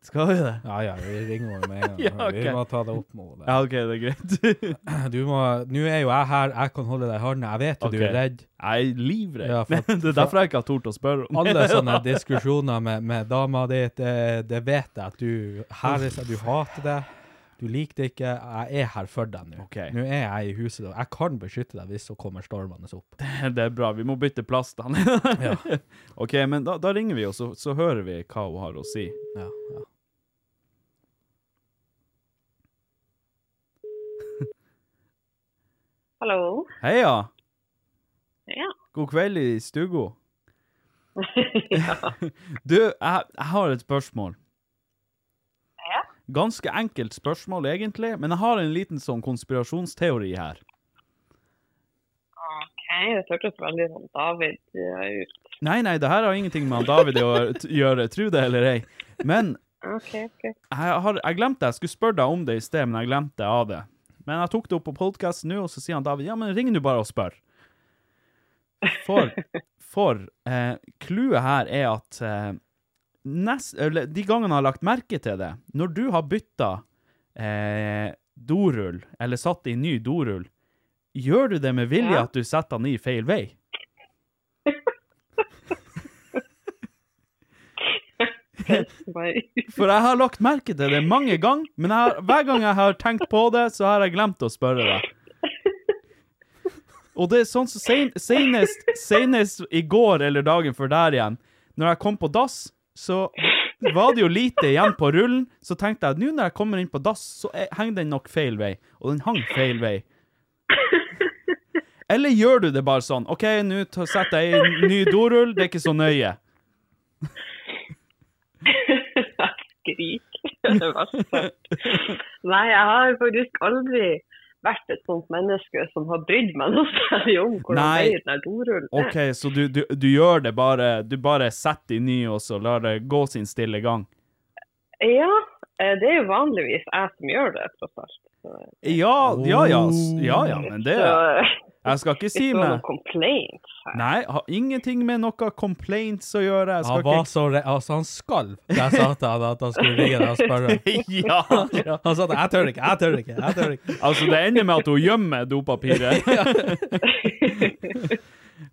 Skal vi det?
Ja, ja, vi ringer henne med en gang. og
Ja,
hører.
ok.
Vi må ta det opp med henne.
Ja, OK, det er greit.
Du må, nå er jo jeg her, jeg kan holde deg i hånda. Jeg vet jo du
Ok.
er redd.
Jeg er livredd.
Ja, for-
Men det er derfor jeg ikke har tort å spørre om
Alle sånne diskusjoner med, med dama di, det, det vet jeg at du her er, du hater det. Du liker det ikke. Jeg er her for deg nå.
Ok.
Nå er jeg i huset. og Jeg kan beskytte deg hvis hun kommer stormende opp.
Det er bra, vi må bytte plass, da. OK, men da, da ringer vi, og så, så hører vi hva hun har å si.
Ja, ja.
Hallo.
Heia!
Ja.
God kveld i stugo.
ja.
Du, jeg, jeg har et spørsmål.
Ja.
Ganske enkelt spørsmål, egentlig, men jeg har en liten sånn konspirasjonsteori her.
OK, det hørtes veldig sånn David eh, ut.
Nei, nei, det her har ingenting med han David å gjøre, tro det eller ei. Men
OK, OK.
jeg, har, jeg glemte jeg skulle spørre deg om det i sted, men jeg glemte av det. Men jeg tok det opp på podkast nå, og så sier han David ja, men ring nå bare og spør. For, for eh, clouet her er at eh, nest, eller, de gangene jeg har lagt merke til det, når du har bytta eh, dorull, eller satt i ny dorull, gjør du det med vilje
Ja.
at du setter den i feil vei?
Bare-
For jeg har lagt merke til det mange ganger, men jeg har, hver gang jeg har tenkt på det, så har jeg glemt å spørre deg. Og det er sånn som sen, senest, senest i går eller dagen før der igjen, når jeg kom på dass, så var det jo lite igjen på rullen, så tenkte jeg at nå når jeg kommer inn på dass, så er- henger den nok feil vei. Og den hang feil vei. Eller gjør du det bare sånn? OK, nå ta- setter jeg i en ny dorull, det er ikke så nøye.
Jeg skriker. Det er det verste. Nei, jeg har faktisk aldri vært et sånt menneske som har brydd meg noe særlig om hvordan
Nei.
veien er dorullen. er.
OK, så du, du, du gjør det bare Du bare setter i ny, og så lar det gå sin stille gang?
Ja, eh, det er jo vanligvis jeg som gjør det, tross alt. Så-
Ja, ja, ja. s- Ja, ja, men det
Så eh,
Jeg skal ikke si
ikke noe
meg
complaints her.
Nei, har ingenting med noe complaints å gjøre. Jeg
Han
skal
var så re... Altså, han skalv da jeg sa til han at han skulle ringe deg og spørre.
ikke Ja! ja.
Han sa at 'jeg tør ikke, jeg tør ikke'. jeg tør ikke.
Altså, det ender med at hun gjemmer dopapiret.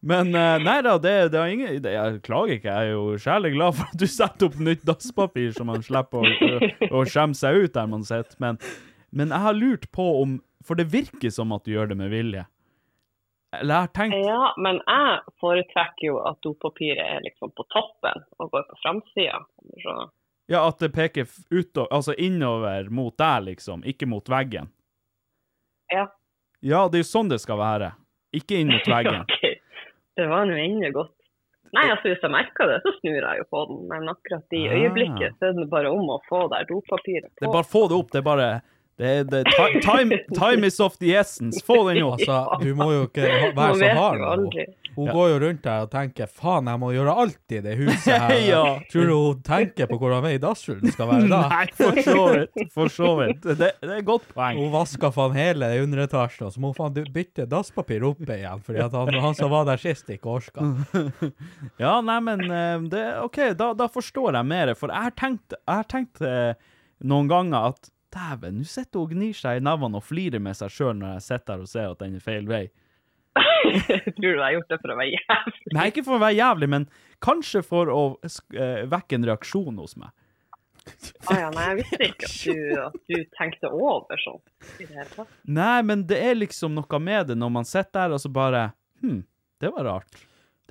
Men eh, nei da, det, det har ingen det, Jeg klager ikke. Jeg er jo sjelig glad for at du setter opp nytt dasspapir, så man slipper å, å, å skjemme seg ut der man sitter. Men, men jeg har lurt på om For det virker som at du gjør det med vilje. Eller jeg har tenkt
Ja, men jeg foretrekker jo at dopapiret er liksom på toppen og går på framsida. om du skjønner.
Ja, at det peker f- utover, altså innover mot deg, liksom. Ikke mot veggen.
Ja.
Ja, det er jo sånn det skal være. Ikke inn mot veggen.
Ok, Det var nå ennå godt. Nei, altså hvis jeg merker det, så snur jeg jo på den. Men akkurat i
Ah.
øyeblikket så er det bare om å få der dopapiret
Det
på.
er bare få det opp. Det er bare det, er- det, ti- time, time is of the essence. Få den opp.
Altså, du må jo ikke ha-
Man
være så
vet
hard.
jo
med henne.
aldri.
Hun
Ja.
går jo rundt der og tenker 'faen, jeg må gjøre alt i det huset her'.
Ja.
Tror du hun tenker på hvordan vei dassrullen skal være da?
Nei, for så vidt. For så vidt. Oh. Det, det er et godt poeng.
Hun vasker faen hele underetasjen, og så må hun faen du- bytte dasspapir opp igjen, fordi at han, han som var der sist, ikke orka.
Ja, nei, men eh, det, OK, da, da forstår jeg mer. For jeg har tenkt, jeg har tenkt eh, noen ganger at dæven, nå sitter hun og gnir seg i nevene og flirer med seg sjøl når jeg sitter her og ser at den er feil vei.
Jeg tror du jeg har gjort det for å være jævlig.
Nei, ikke for å være jævlig, men kanskje for å sk- eh, vekke en reaksjon hos meg.
Ah, ja, nei, jeg visste ikke at du, at du tenkte over sånn. i det hele tatt.
Nei, men det er liksom noe med det når man sitter der og så bare Hm, det var rart.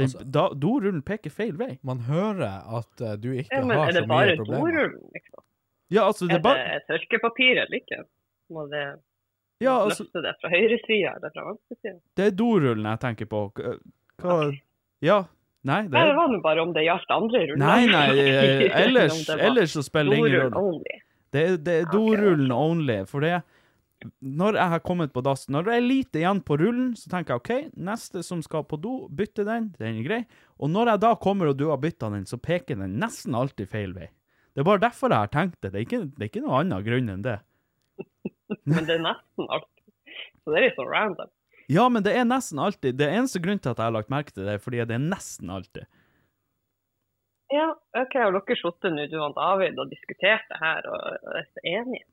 Den, da, dorullen peker feil vei.
Man hører at eh, du ikke
Ja, men
har
er
så
det
mye
bare
problemer.
dorullen, liksom?
Ja, altså, det
Er
er
det
bare
tørkepapir eller ikke? Må det
Ja, altså,
løfte det fra høyresida eller fra venstresida?
det er dorullen jeg tenker på. K- Hva Ja. Nei, det
Nei, det
er
var nå bare om det gjaldt andre ruller.
Nei, nei, eh,
Om
ellers,
det var
ellers så spiller det ingen
dorullen
rolle.
only.
Det, er- det er
ok.
dorullen only, for det Når jeg har kommet på dass, når det er lite igjen på rullen, så tenker jeg OK, neste som skal på do, bytte den, den er grei. Og når jeg da kommer og du har bytta den, så peker den nesten alltid feil vei. Det er bare derfor jeg har tenkt det. Det er ikke, det er ikke noe annen grunn enn det.
Men det er nesten alltid. Så det er litt sånn random.
Ja, men det er nesten alltid. Det eneste grunnen til at jeg har lagt merke til det, er fordi det er nesten alltid.
Ja, OK, har dere sittet nå, du og David, og diskutert det her og er så enige?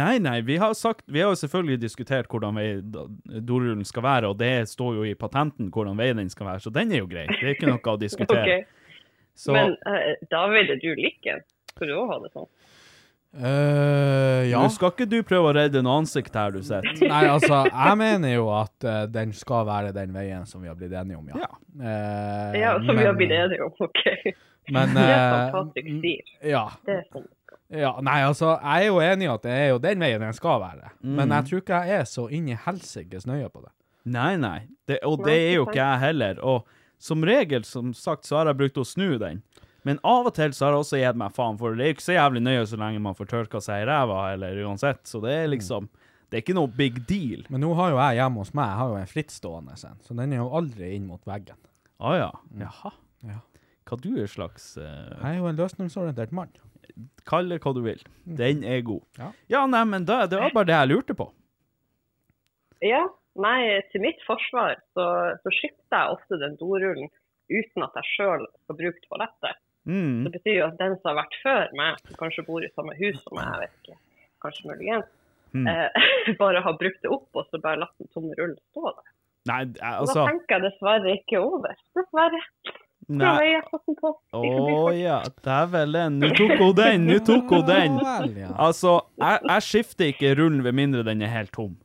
Nei, nei, vi har sagt Vi har jo selvfølgelig diskutert hvordan vei do- dorullen skal være, og det står jo i patenten hvordan veien den skal være, så den er jo grei. Det er ikke noe å diskutere.
Ok,
Så
Men eh, David, er du liken? Skal du òg ha det sånn?
Eh, ja.
nå skal ikke du prøve å redde noe ansikt her du sitter.
Nei, altså, jeg mener jo at eh, den skal være den veien som vi har blitt enige om, ja. Eh,
Ja, som vi har
men-
blitt enige om, OK?
Men,
det er
eh,
fantastisk
Mm.
stil.
Ja.
Det er sånn.
Ja, nei, altså, jeg er jo enig i at det er jo den veien den skal være. Men jeg tror ikke jeg er så inn i helsikes nøye på det.
Nei, nei. Det, og
Nei,
det er jo
ikke
ikke jeg heller. Og som regel, som sagt, så har jeg brukt å snu den. Men av og til så har jeg også gitt meg faen, for det er jo ikke så jævlig nøye så lenge man får tørka seg i ræva, eller uansett. Så det
Mm.
er liksom Det er ikke noe big deal.
Men nå har jo jeg hjemme hos meg jeg har jo en frittstående en, så den er jo aldri inn mot veggen.
Å ah, ja. Jaha.
Mm. Ja.
Hva du er slags eh,
Jeg er jo en løsningsorientert mann.
Kall det hva du vil. Den er god.
Mm. Ja.
Ja, nei, men da, det var bare det jeg lurte på.
Ja, nei, til mitt forsvar så, så skifter jeg ofte den dorullen uten at jeg sjøl skal bruke toalettet.
Mm.
Det betyr jo at den som har vært før meg, som kanskje bor i samme hus som meg, jeg vet ikke, kanskje muligens,
Hmm.
eh, bare har brukt det opp og så bare latt den tomme rullen stå der.
Nei, jeg-
Og
altså
Da tenker jeg dessverre ikke over. Dessverre. Nei.
Nei.
Jeg har fått den på.
Å
Det kan bli for-
ja, dævelen. Nå tok hun den! Nå tok hun den!
Ja vel, ja.
Altså, jeg, jeg skifter ikke rullen ved mindre den er helt tom.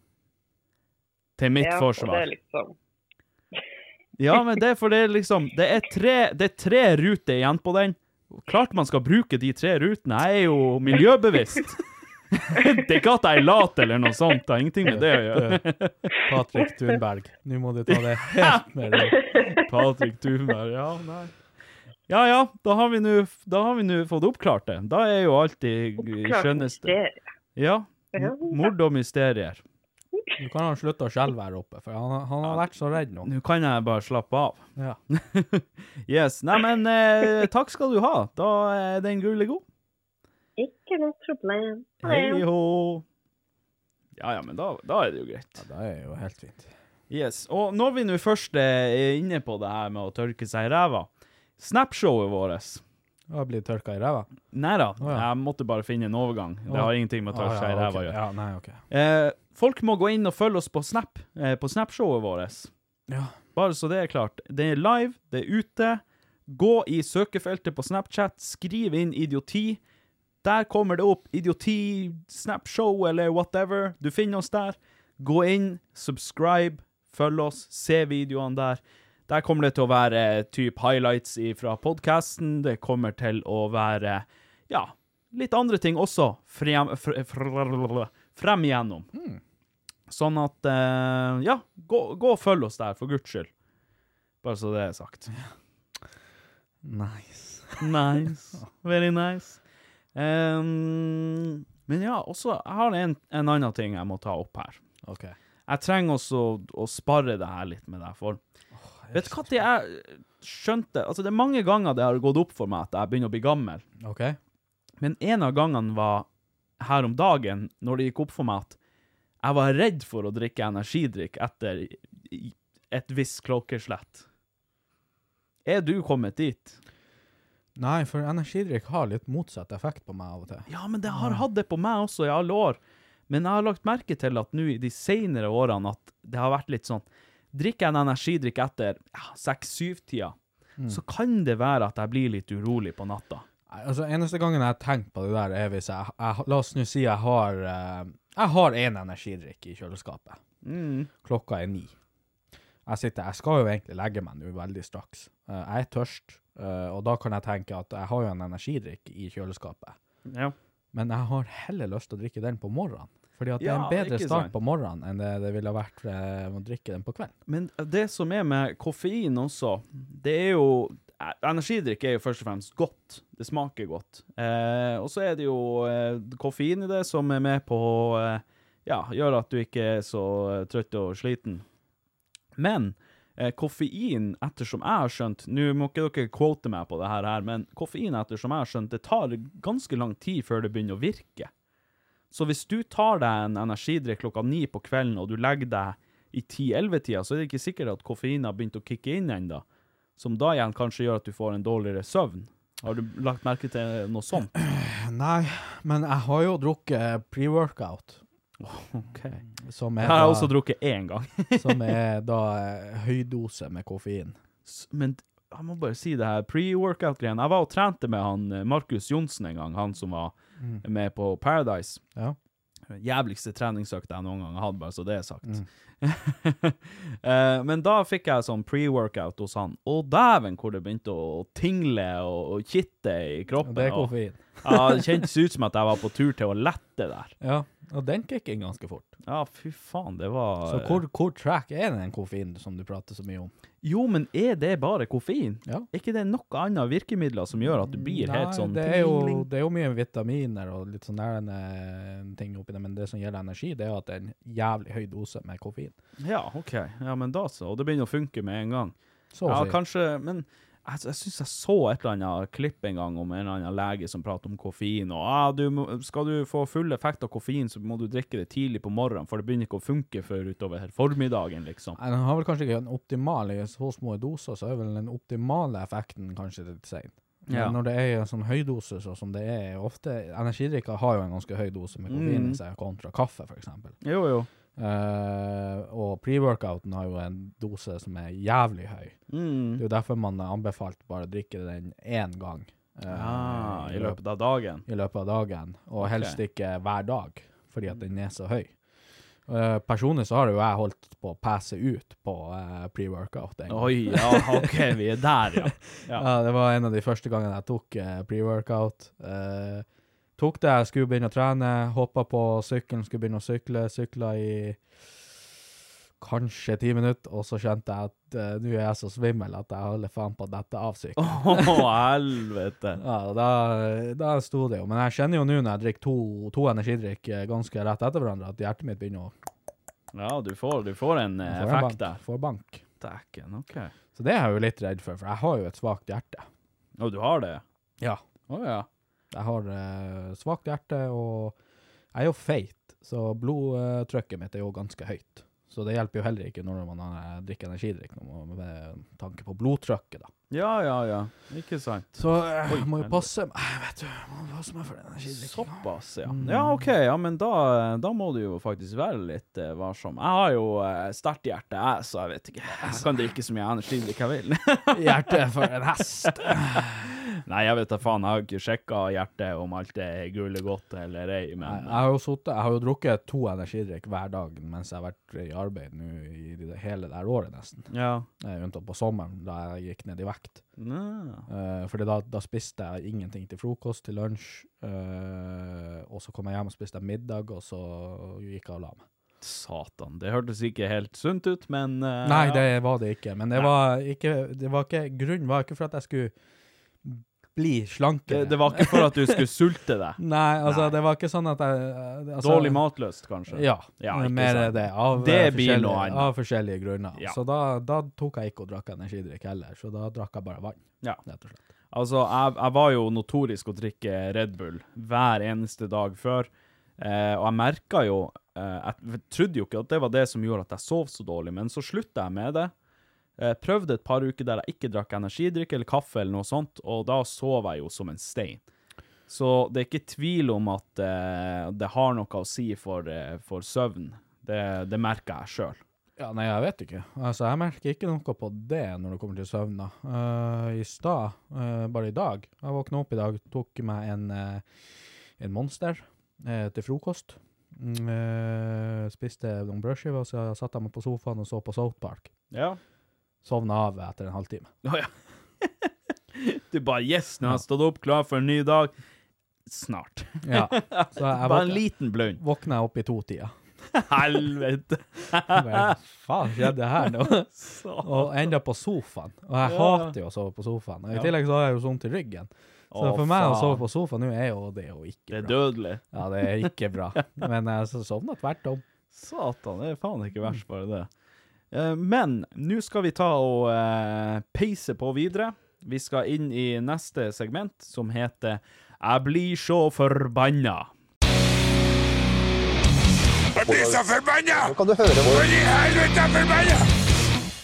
Til mitt
Ja, og Det
forsvar.
er liksom,
Ja, men det er for det er liksom Det er tre, det er tre ruter igjen på den. Klart man skal bruke de tre rutene. Jeg er jo miljøbevisst. det er ikke at jeg er lat eller noe sånt. Det har ingenting med det å gjøre.
Patrick Thunberg, nå må du ta det helt med ro.
Patrick Thunberg, ja, nei. Ja ja, da har vi nå- da har vi nå fått oppklart det. Da er jo alltid
klart,
skjønneste
det-
Ja. Mord og mysterier.
Nå kan han slutte å skjelve her oppe, for han, han har vært så redd nå.
Nå kan jeg bare slappe av.
Ja.
yes. Nei, men eh, takk skal du ha. Da er den gule god.
Ikke noe problem. Ha det.
Hei ho. Ja, ja, men da, da er det jo greit.
Det er jo helt fint.
Yes. Og når vi nå først er inne på det her med å tørke seg i ræva Snapshowet vårt
Å bli tørka i ræva?
Nei da,
ja.
jeg måtte bare finne en overgang. Det
Å.
har ingenting med å tørke
Ah,
seg i
ja,
ræva å
ok.
gjøre.
Ja, nei, ok.
Eh, folk må gå inn og følge oss på Snap, eh, på Snapshowet vårt.
Ja.
Bare så det er klart. Det er live, det er ute. Gå i søkefeltet på Snapchat, skriv inn idioti. Der kommer det opp idioti, snapshow eller whatever. Du finner oss der. Gå inn, subscribe, følg oss, se videoene der. Der kommer det til å være eh, typ highlights fra podkasten. Det kommer til å være, ja, litt andre ting også frem, fr- fr- frem igjennom. Sånn at eh, Ja, gå, gå og følg oss der, for guds skyld. Bare så det er sagt.
Nice.
Nice. Very nice. Ehm, men ja, også Jeg har en, en annen ting jeg må ta opp her.
Ok.
Jeg trenger også å, å spare det her litt med deg for. Vet du hva det jeg skjønte Altså, det er mange ganger det har gått opp for meg at jeg begynner å bli gammel.
Ok.
Men en av gangene var her om dagen, når det gikk opp for meg at jeg var redd for å drikke energidrikk etter i- et visst klokkeslett. Er du kommet dit?
Nei, for energidrikk har litt motsatt effekt på meg av og til.
Ja, men det har hatt det på meg også i alle år. Men jeg har lagt merke til at nå i de senere årene at det har vært litt sånn Drikker jeg en energidrikk etter ja, seks-syv-tida, så kan det være at jeg blir litt urolig på natta.
Nei, altså, eneste gangen jeg har tenkt på det der, er hvis jeg, jeg La oss nå si jeg har eh, Jeg har én en energidrikk i kjøleskapet.
Mm.
Klokka er ni. Jeg sitter Jeg skal jo egentlig legge meg nå veldig straks. Eh, jeg er tørst, eh, og da kan jeg tenke at jeg har jo en energidrikk i kjøleskapet.
Ja.
Men jeg har heller lyst til å drikke den på morgenen. Fordi at det er
Ja,
en bedre
ikke
start
sant.
på morgenen enn det det ville vært eh, å drikke den på kvelden.
Men det som er med koffein også, det er jo eh, Energidrikk er jo først og fremst godt. Det smaker godt. Eh, og så er det jo eh, koffein i det som er med på eh, Ja, gjør at du ikke er så eh, trøtt og sliten. Men eh, koffein, ettersom jeg har skjønt Nå må ikke dere quote meg på det her, her, men koffein, ettersom jeg har skjønt, det tar ganske lang tid før det begynner å virke. Så hvis du tar deg en energidrikk klokka ni på kvelden, og du legger deg i 10-11-tida, så er det ikke sikkert at koffeinen har begynt å kicke inn ennå. Som da igjen kanskje gjør at du får en dårligere søvn. Har du lagt merke til noe sånt?
Nei, men jeg har jo drukket pre-workout,
Ok. Jeg
som er,
har
da,
jeg også drukket én gang.
som er da eh, høydose med koffein.
S- Men d- jeg må bare si det her pre-workout-greien. Jeg var og trente med han eh, Markus Johnsen en gang, han som var med på Paradise.
Mm. Ja.
jævligste treningsøkta jeg noen gang har hatt, bare så det er sagt.
Mm.
Eh, Men da fikk jeg sånn pre-workout hos han, og dæven hvor det begynte å tingle og, og kitte i kroppen.
Og det er
og-
koffein.
ja, det kjentes ut som at jeg var på tur til å lette der.
Ja, og den kicker inn ganske fort.
Ja, fy faen, det var
Så hvor, hvor track er den koffeinen som du prater så mye om?
Jo, men er det bare koffein?
Ja.
Er ikke det noe annet virkemidler som gjør at du blir helt sånn
det er, jo,
pling-ling?
det er jo mye vitaminer og litt sånne der, eh, ting oppi det, men det som gjelder energi, det er at det er en jævlig høy dose med koffein.
Ja, OK. Ja, men da så. Og det begynner å funke med en gang.
Så å
ja,
si.
kanskje, men altså, jeg, jeg syns jeg så et eller annet klipp en gang om en eller annen lege som prater om koffein, og ah, du, må- skal du få full effekt av koffein, så må du drikke det tidlig på morgenen, for det begynner ikke å funke før utover formiddagen, liksom.
Nei, Den har vel kanskje ikke den optimale i så små doser, så er vel den optimale effekten kanskje litt sein. Men
Ja.
når det er en sånn høy dose, så som det er ofte Energidrikker har jo en ganske høy dose med koffein
Mm.
i seg, kontra kaffe, f.eks.
Jo, jo.
Uh, og pre-workouten har jo en dose som er jævlig høy. Det
Mm.
er jo derfor man er anbefalt bare å drikke den én gang eh,
Ah, I
løp-
løpet av dagen.
i løpet av dagen, og helst ikke hver dag, fordi at den er så høy. Eh, personlig så har jo jeg holdt på å passe ut på eh, pre-workout. en gang.
Oi, ja, OK, vi er der, ja.
Ja. det var en av de første gangene jeg tok eh, pre-workout. Eh, tok det, jeg skulle begynne å trene, hoppa på sykkelen, skulle begynne å sykle, sykla i kanskje ti minutter, og så skjønte jeg at eh, nå er jeg så svimmel at jeg holder faen på å dette av sykkelen.
Å, helvete.
Ja, og da, da sto det jo. Men jeg kjenner jo nå når jeg drikker to, to energidrikk eh, ganske rett etter hverandre, at hjertet mitt begynner å
Ja, du får, du får en eh,
får en
effekt
bank-
der.
Får bank.
Dæken, OK.
Så det er jeg jo litt redd for, for jeg har jo et svakt hjerte.
Å, du har det?
Ja.
Å ja.
Jeg har eh, svakt hjerte, og jeg er jo feit, så blodtrykket mitt er jo ganske høyt. Så det hjelper jo heller ikke når man eh, drikker energidrikk, når man- med tanke på blodtrykket, da.
Ja, ja, ja. Ikke sant.
Så eh,
Oi,
jeg må
helvete.
jo passe meg, Jeg vet du, jeg må passe meg for den energidrikken.
Såpass, ja.
Mm.
Ja, OK, ja, men da, eh, da må du jo faktisk være litt eh, varsom. Jeg har jo eh, sterkt hjerte, jeg, så jeg vet ikke. Jeg kan drikke så mye energidrikk jeg vil.
Hjertet for en hest.
Nei, jeg vet da faen, jeg har jo ikke sjekka hjertet om alt er gule godt eller ei,
Nei,
men
Jeg har jo suttet, jeg har jo drukket to energidrikk hver dag mens jeg har vært i arbeid nå i det hele det her året nesten.
Ja.
Eh, Unntatt på sommeren, da jeg gikk ned i vekt.
Nå.
Uh, fordi da, da spiste jeg ingenting til frokost, til lunsj, eh, og så kom jeg hjem og spiste middag, og så gikk jeg og la meg.
Satan, det hørtes ikke helt sunt ut, men eh,
Nei,
ja.
det var det ikke, men det var ikke, det var ikke, grunnen var ikke for at jeg skulle bli
det,
slankere.
det var ikke for at du skulle sulte deg.
Nei, altså,
Nei.
det var ikke sånn at jeg... eh, Altså,
Dårlig matlyst, kanskje.
Ja,
Ja,
men
ikke
mer
sant.
det. Av,
Det blir noe
eh, forskjellige-
annet.
av forskjellige grunner.
Ja.
Så da, da tok jeg ikke og drakk energidrikk heller, så da drakk jeg bare vann.
Ja.
Rett og slett.
Altså, jeg, jeg var jo notorisk å drikke Red Bull hver eneste dag før, eh, og jeg merka jo eh, Jeg trodde jo ikke at det var det som gjorde at jeg sov så dårlig, men så slutta jeg med det. Eh, prøvde et par uker der jeg ikke drakk energidrikk eller kaffe eller noe sånt, og da sov jeg jo som en stein. Så det er ikke tvil om at eh, det har noe å si for, eh, for søvn. Det, det merka jeg sjøl.
Ja, nei, jeg vet ikke. Altså, jeg merker ikke noe på det når det kommer til søvn, da. Eh, I stad, eh, bare i dag, jeg våkna opp i dag, tok meg en, eh, en monster eh, til frokost. Mm, eh, spiste noen brødskiver, og så satte jeg meg på sofaen og så på South Park.
Ja.
Sovna av etter en halvtime.
Å ja. Du bare Yes, nå har jeg stått opp, klar for en ny dag. Snart.
Ja. Så jeg
Bare en
våkna-
liten blund.
våkna jeg opp i to-tida.
Helvete.
Jeg bare, faen skjedde her nå?
Så.
Og enda på sofaen. Og jeg
Ja.
hater jo å sove på sofaen. Og i
Ja.
tillegg så har jeg jo sånn til ryggen. Så
Å,
for meg å
faen.
sove på sofaen nå er jo det er jo
Det
ikke
er
bra.
dødelig.
Ja, det er ikke bra. Men jeg så sovna tvert om.
Satan, det er faen ikke verst, bare det. Eh, Men nå skal vi ta og eh, peise på videre. Vi skal inn i neste segment, som heter Jeg blir så forbanna.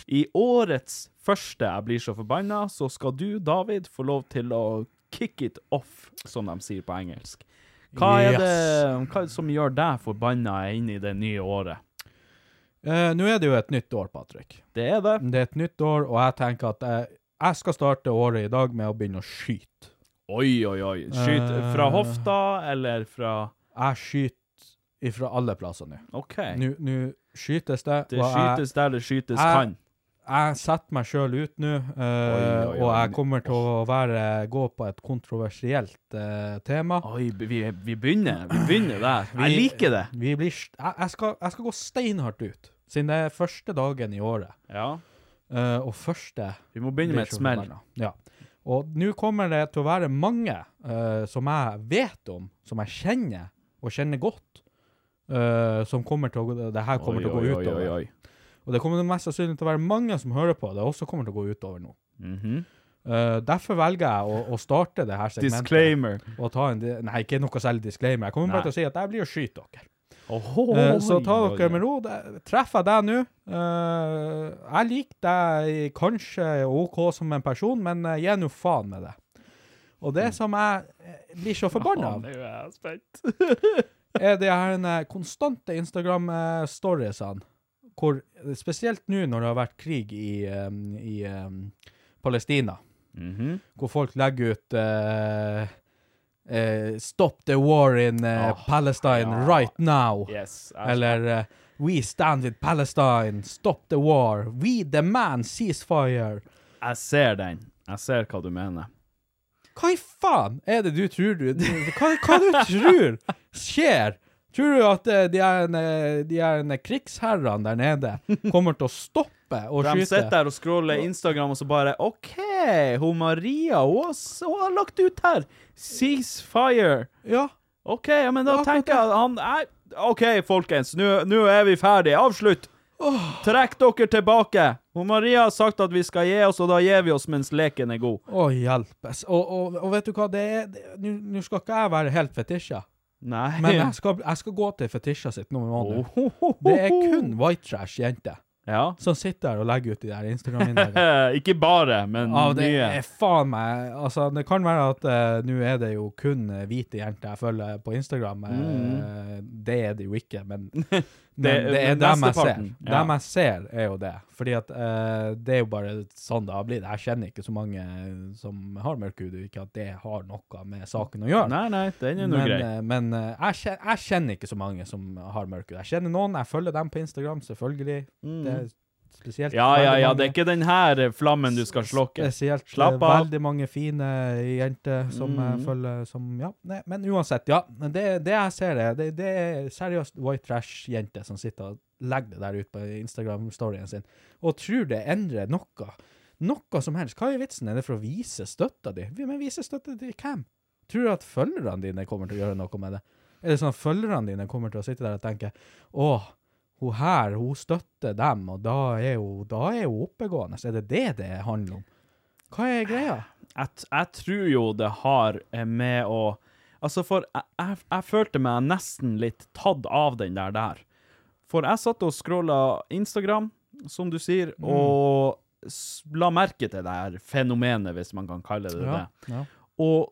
I årets første Jeg blir så forbanna, så skal du, David, få lov til å kick it off, som de sier på engelsk. Hva er,
Yes.
det, hva er det som gjør deg forbanna inn i det nye året?
Eh, nå er det jo et nytt år, Patrick.
Det er det.
Det er et nytt år, og jeg tenker at jeg, jeg skal starte året i dag med å begynne å skyte.
Oi, oi, oi. Skyt
Eh.
fra hofta, eller fra
Jeg skyter ifra alle plasser nå.
OK.
Nå nå skytes det.
Det
og jeg-
skytes der det skytes
jeg-
kan.
jeg setter meg sjøl ut nå, eh,
Oi, oi, oi.
og jeg kommer til å være, gå på et kontroversielt eh, tema.
Oi, vi, vi begynner. Vi begynner der. Jeg liker det.
Vi blir, st- jeg, jeg, skal, jeg skal gå steinhardt ut, siden det er første dagen i året.
Ja.
eh, og første
Vi må begynne med et smell.
Ja. Og nå kommer det til å være mange eh, som jeg vet om, som jeg kjenner, og kjenner godt, eh, som kommer til å gå Det her kommer til å gå utover. Og det kommer mest sannsynlig til å være mange som hører på. Det også kommer til å gå utover nå.
Mhm.
Eh, derfor velger jeg å, å starte det her segmentet.
Disclaimer.
Og ta en, di- nei, ikke noe særlig disclaimer. Jeg kommer bare
Nei.
til å si at jeg blir å skyte dere.
Oho,
Eh, så ta
oi,
dere
oi.
med ro. Det- Treffer jeg deg nå eh, Jeg liker deg kanskje OK som en person, men eh, gi nå faen med det. Og det som jeg eh, blir så forbanna av,
Mm. Faen, nå er jeg spent.
er de her eh, konstante Instagram-storiesene, hvor spesielt nå når det har vært krig i, eh, i eh, Palestina,
Mhm.
hvor folk legger ut eh, eh, 'Stop the war in eh,
Åh, ja.
Palestine right now'.
Yes. jeg-
Eller eh, We stand with Palestine, stop the war, we demand ceasefire.
Jeg ser den. Jeg ser hva du mener.
Hva i faen er det du tror du Hva, hva du tror skjer? Tror du at eh, de her, eh, de her eh, krigsherrene der nede kommer til å stoppe og
De sitter
skyte?
der og scroller Instagram, og så bare OK, hun Maria hun har, s- hun har lagt ut her! Ceasefire!
Ja.
OK, ja, men da
Ja,
tenker jeg at han nei, OK, folkens, nå nå er vi ferdige. Avslutt! Trekk dere tilbake! Hun Maria har sagt at vi skal gi oss, og da gir vi oss mens leken er god.
Å, hjelpes. Og, og, og vet du hva, det er det- Nå nå skal ikke jeg være helt fetisja,
Nei.
men jeg skal, jeg skal gå til fetisja sitt nå i måneden.
Ohohoho.
Det er kun white trash-jenter
Ja.
som sitter der og legger ut de der Instagram-innleggene.
Eh, Ikke bare, men
Ja, det
mye.
er faen meg Altså, det kan være at eh, nå er det jo kun eh, hvite jenter jeg følger på Instagram. eh, det er det jo ikke, men, men det, er
men
dem jeg ser.
Mm. mesteparten, ja.
Dem jeg ser, er jo det. Fordi at eh, det er jo bare sånn det har blitt. Jeg kjenner ikke så mange eh, som har mørk hud, og ikke at det har noe med saken å gjøre.
Nei, nei, den er nå
Men,
grei.
eh, men eh, jeg, kjenner, jeg kjenner ikke så mange som har mørk hud. Jeg kjenner noen, jeg følger dem på Instagram, selvfølgelig. eh,
Mm.
Det er spesielt
Ja, ja,
veldig
ja,
mange-
det er ikke den her eh, flammen du skal slokke.
Spesielt eh,
Slapp av. Mm.
veldig mange fine jenter som eh, følger som Ja, nei, men uansett, ja. Men det, det jeg ser, er det, det er seriøst white trash-jenter som sitter og legger det der ut på Instagram-storyen sin, og tror det endrer noe. Noe som helst. Hva er vitsen? Er det for å vise støtta di? Vi- Men vise støtta til hvem? Tror du at følgerne dine kommer til å gjøre noe med det? Er det sånn at følgerne dine kommer til å sitte der og tenke åh, hun her, hun støtter dem, og da er hun, da er hun oppegående. Så er det det det handler om? Hva er greia?
Jeg, t- jeg tror jo det har eh, med å Altså, for jeg, jeg, jeg følte meg nesten litt tatt av den der der. For jeg satt og scrolla Instagram, som du sier, og s- la merke til det her fenomenet, hvis man kan kalle det det.
ja.
Og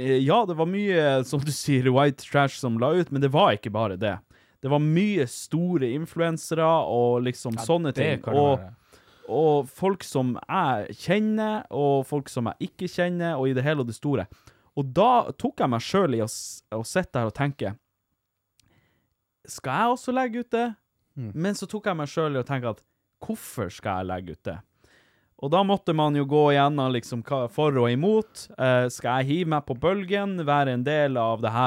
eh, ja, det var mye, som du sier, white trash som la ut, men det var ikke bare det. Det var mye store influensere og liksom sånne ting. og, og folk som jeg kjenner, og folk som jeg ikke kjenner, og i det hele og det store. Og da tok jeg meg sjøl i å, s- å sitte her og tenke Skal jeg også legge ut det? Men så tok jeg meg sjøl i å tenke at hvorfor skal jeg legge ut det? Og da måtte man jo gå igjennom liksom hva- for og imot. Eh, skal jeg hive meg på bølgen, være en del av det her?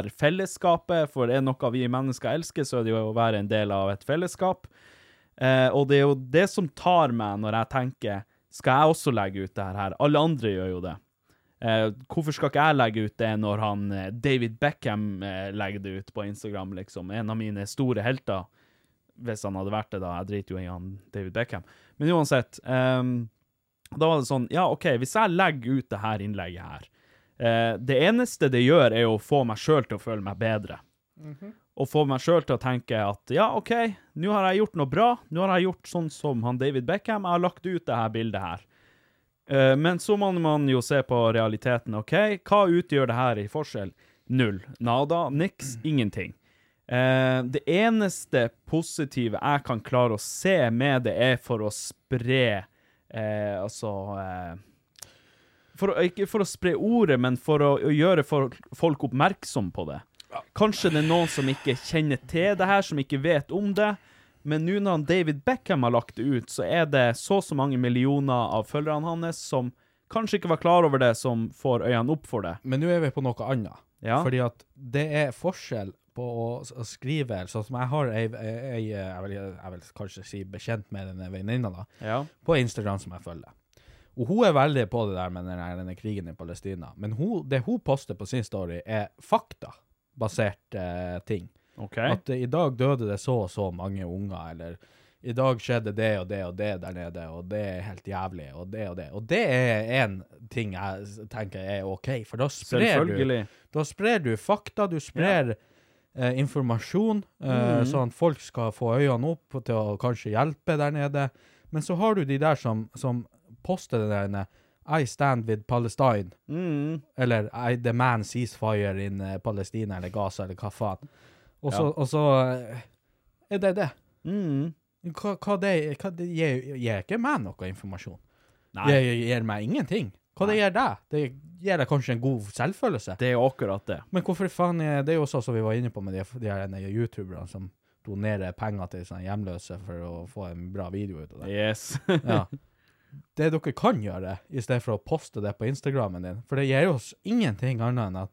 er fellesskapet, for er det noe vi mennesker elsker, så er det jo å være en del av et fellesskap. Eh, og det er jo det som tar meg når jeg tenker skal jeg også legge ut det her? Alle andre gjør jo det. Eh, hvorfor skal ikke jeg legge ut det når han eh, David Beckham eh, legger det ut på Instagram, liksom? En av mine store helter. Hvis han hadde vært det, da. Jeg driter jo i han David Beckham. Men uansett. ehm, da var det sånn Ja, OK, hvis jeg legger ut det her innlegget her eh, Det eneste det gjør, er jo å få meg sjøl til å føle meg bedre og få meg sjøl til å tenke at ja, OK, nå har jeg gjort noe bra. Nå har jeg gjort sånn som han David Beckham. Jeg har lagt ut det her bildet her. Eh, Men så må man jo se på realiteten. OK, hva utgjør det her i forskjell? Null. Nada. Niks. Ingenting. Eh, Det eneste positive jeg kan klare å se med det, er for å spre eh, Altså eh, for å, Ikke for å spre ordet, men for å, å gjøre folk- folk oppmerksom på det. Kanskje det er noen som ikke kjenner til det her, som ikke vet om det. Men nå når han David Beckham har lagt det ut, så er det så og så mange millioner av følgerne hans som kanskje ikke var klar over det, som får øynene opp for det.
Men nå er vi på noe annet.
Ja.
Fordi at det er forskjell på å, s- å skrive Sånn som jeg har ei, ei, ei jeg, vil, jeg vil kanskje si bekjent med denne venninna, da.
Ja.
På Instagram som jeg følger. Og hun er veldig på det der med denne, denne krigen i Palestina. Men hun, det hun poster på sin story, er faktabasert eh, ting.
OK.
At eh, i dag døde det så og så mange unger, eller i dag skjedde det og det og det der nede, og det er helt jævlig, og det og det. Og det er én ting jeg s- tenker er OK, for da sprer du,
Selvfølgelig.
da sprer du fakta, du sprer eh, informasjon, eh,
Mhm.
sånn at folk skal få øynene opp til å kanskje hjelpe der nede. Men så har du de der som, som poster det der inne, I stand with Palestine
Mm.
eller I demand ceasefire in eh, Palestina eller Gaza eller hva faen. Og så,
Ja.
og så eh, er det det.
Mm.
Hva, hva det, hva det gir, gir ikke meg noe informasjon.
Nei.
Det gir, gir meg ingenting. Hva det gir deg? Det gir deg kanskje en god selvfølelse.
Det er jo akkurat det.
Men hvorfor faen er det er jo sånn som vi var inne på med de, de her ene youtuberne som donerer penger til sånne hjemløse for å få en bra video ut av det.
Yes.
Ja. Det dere kan gjøre, i stedet for å poste det på Instagrammen din, for det gir oss ingenting annet enn at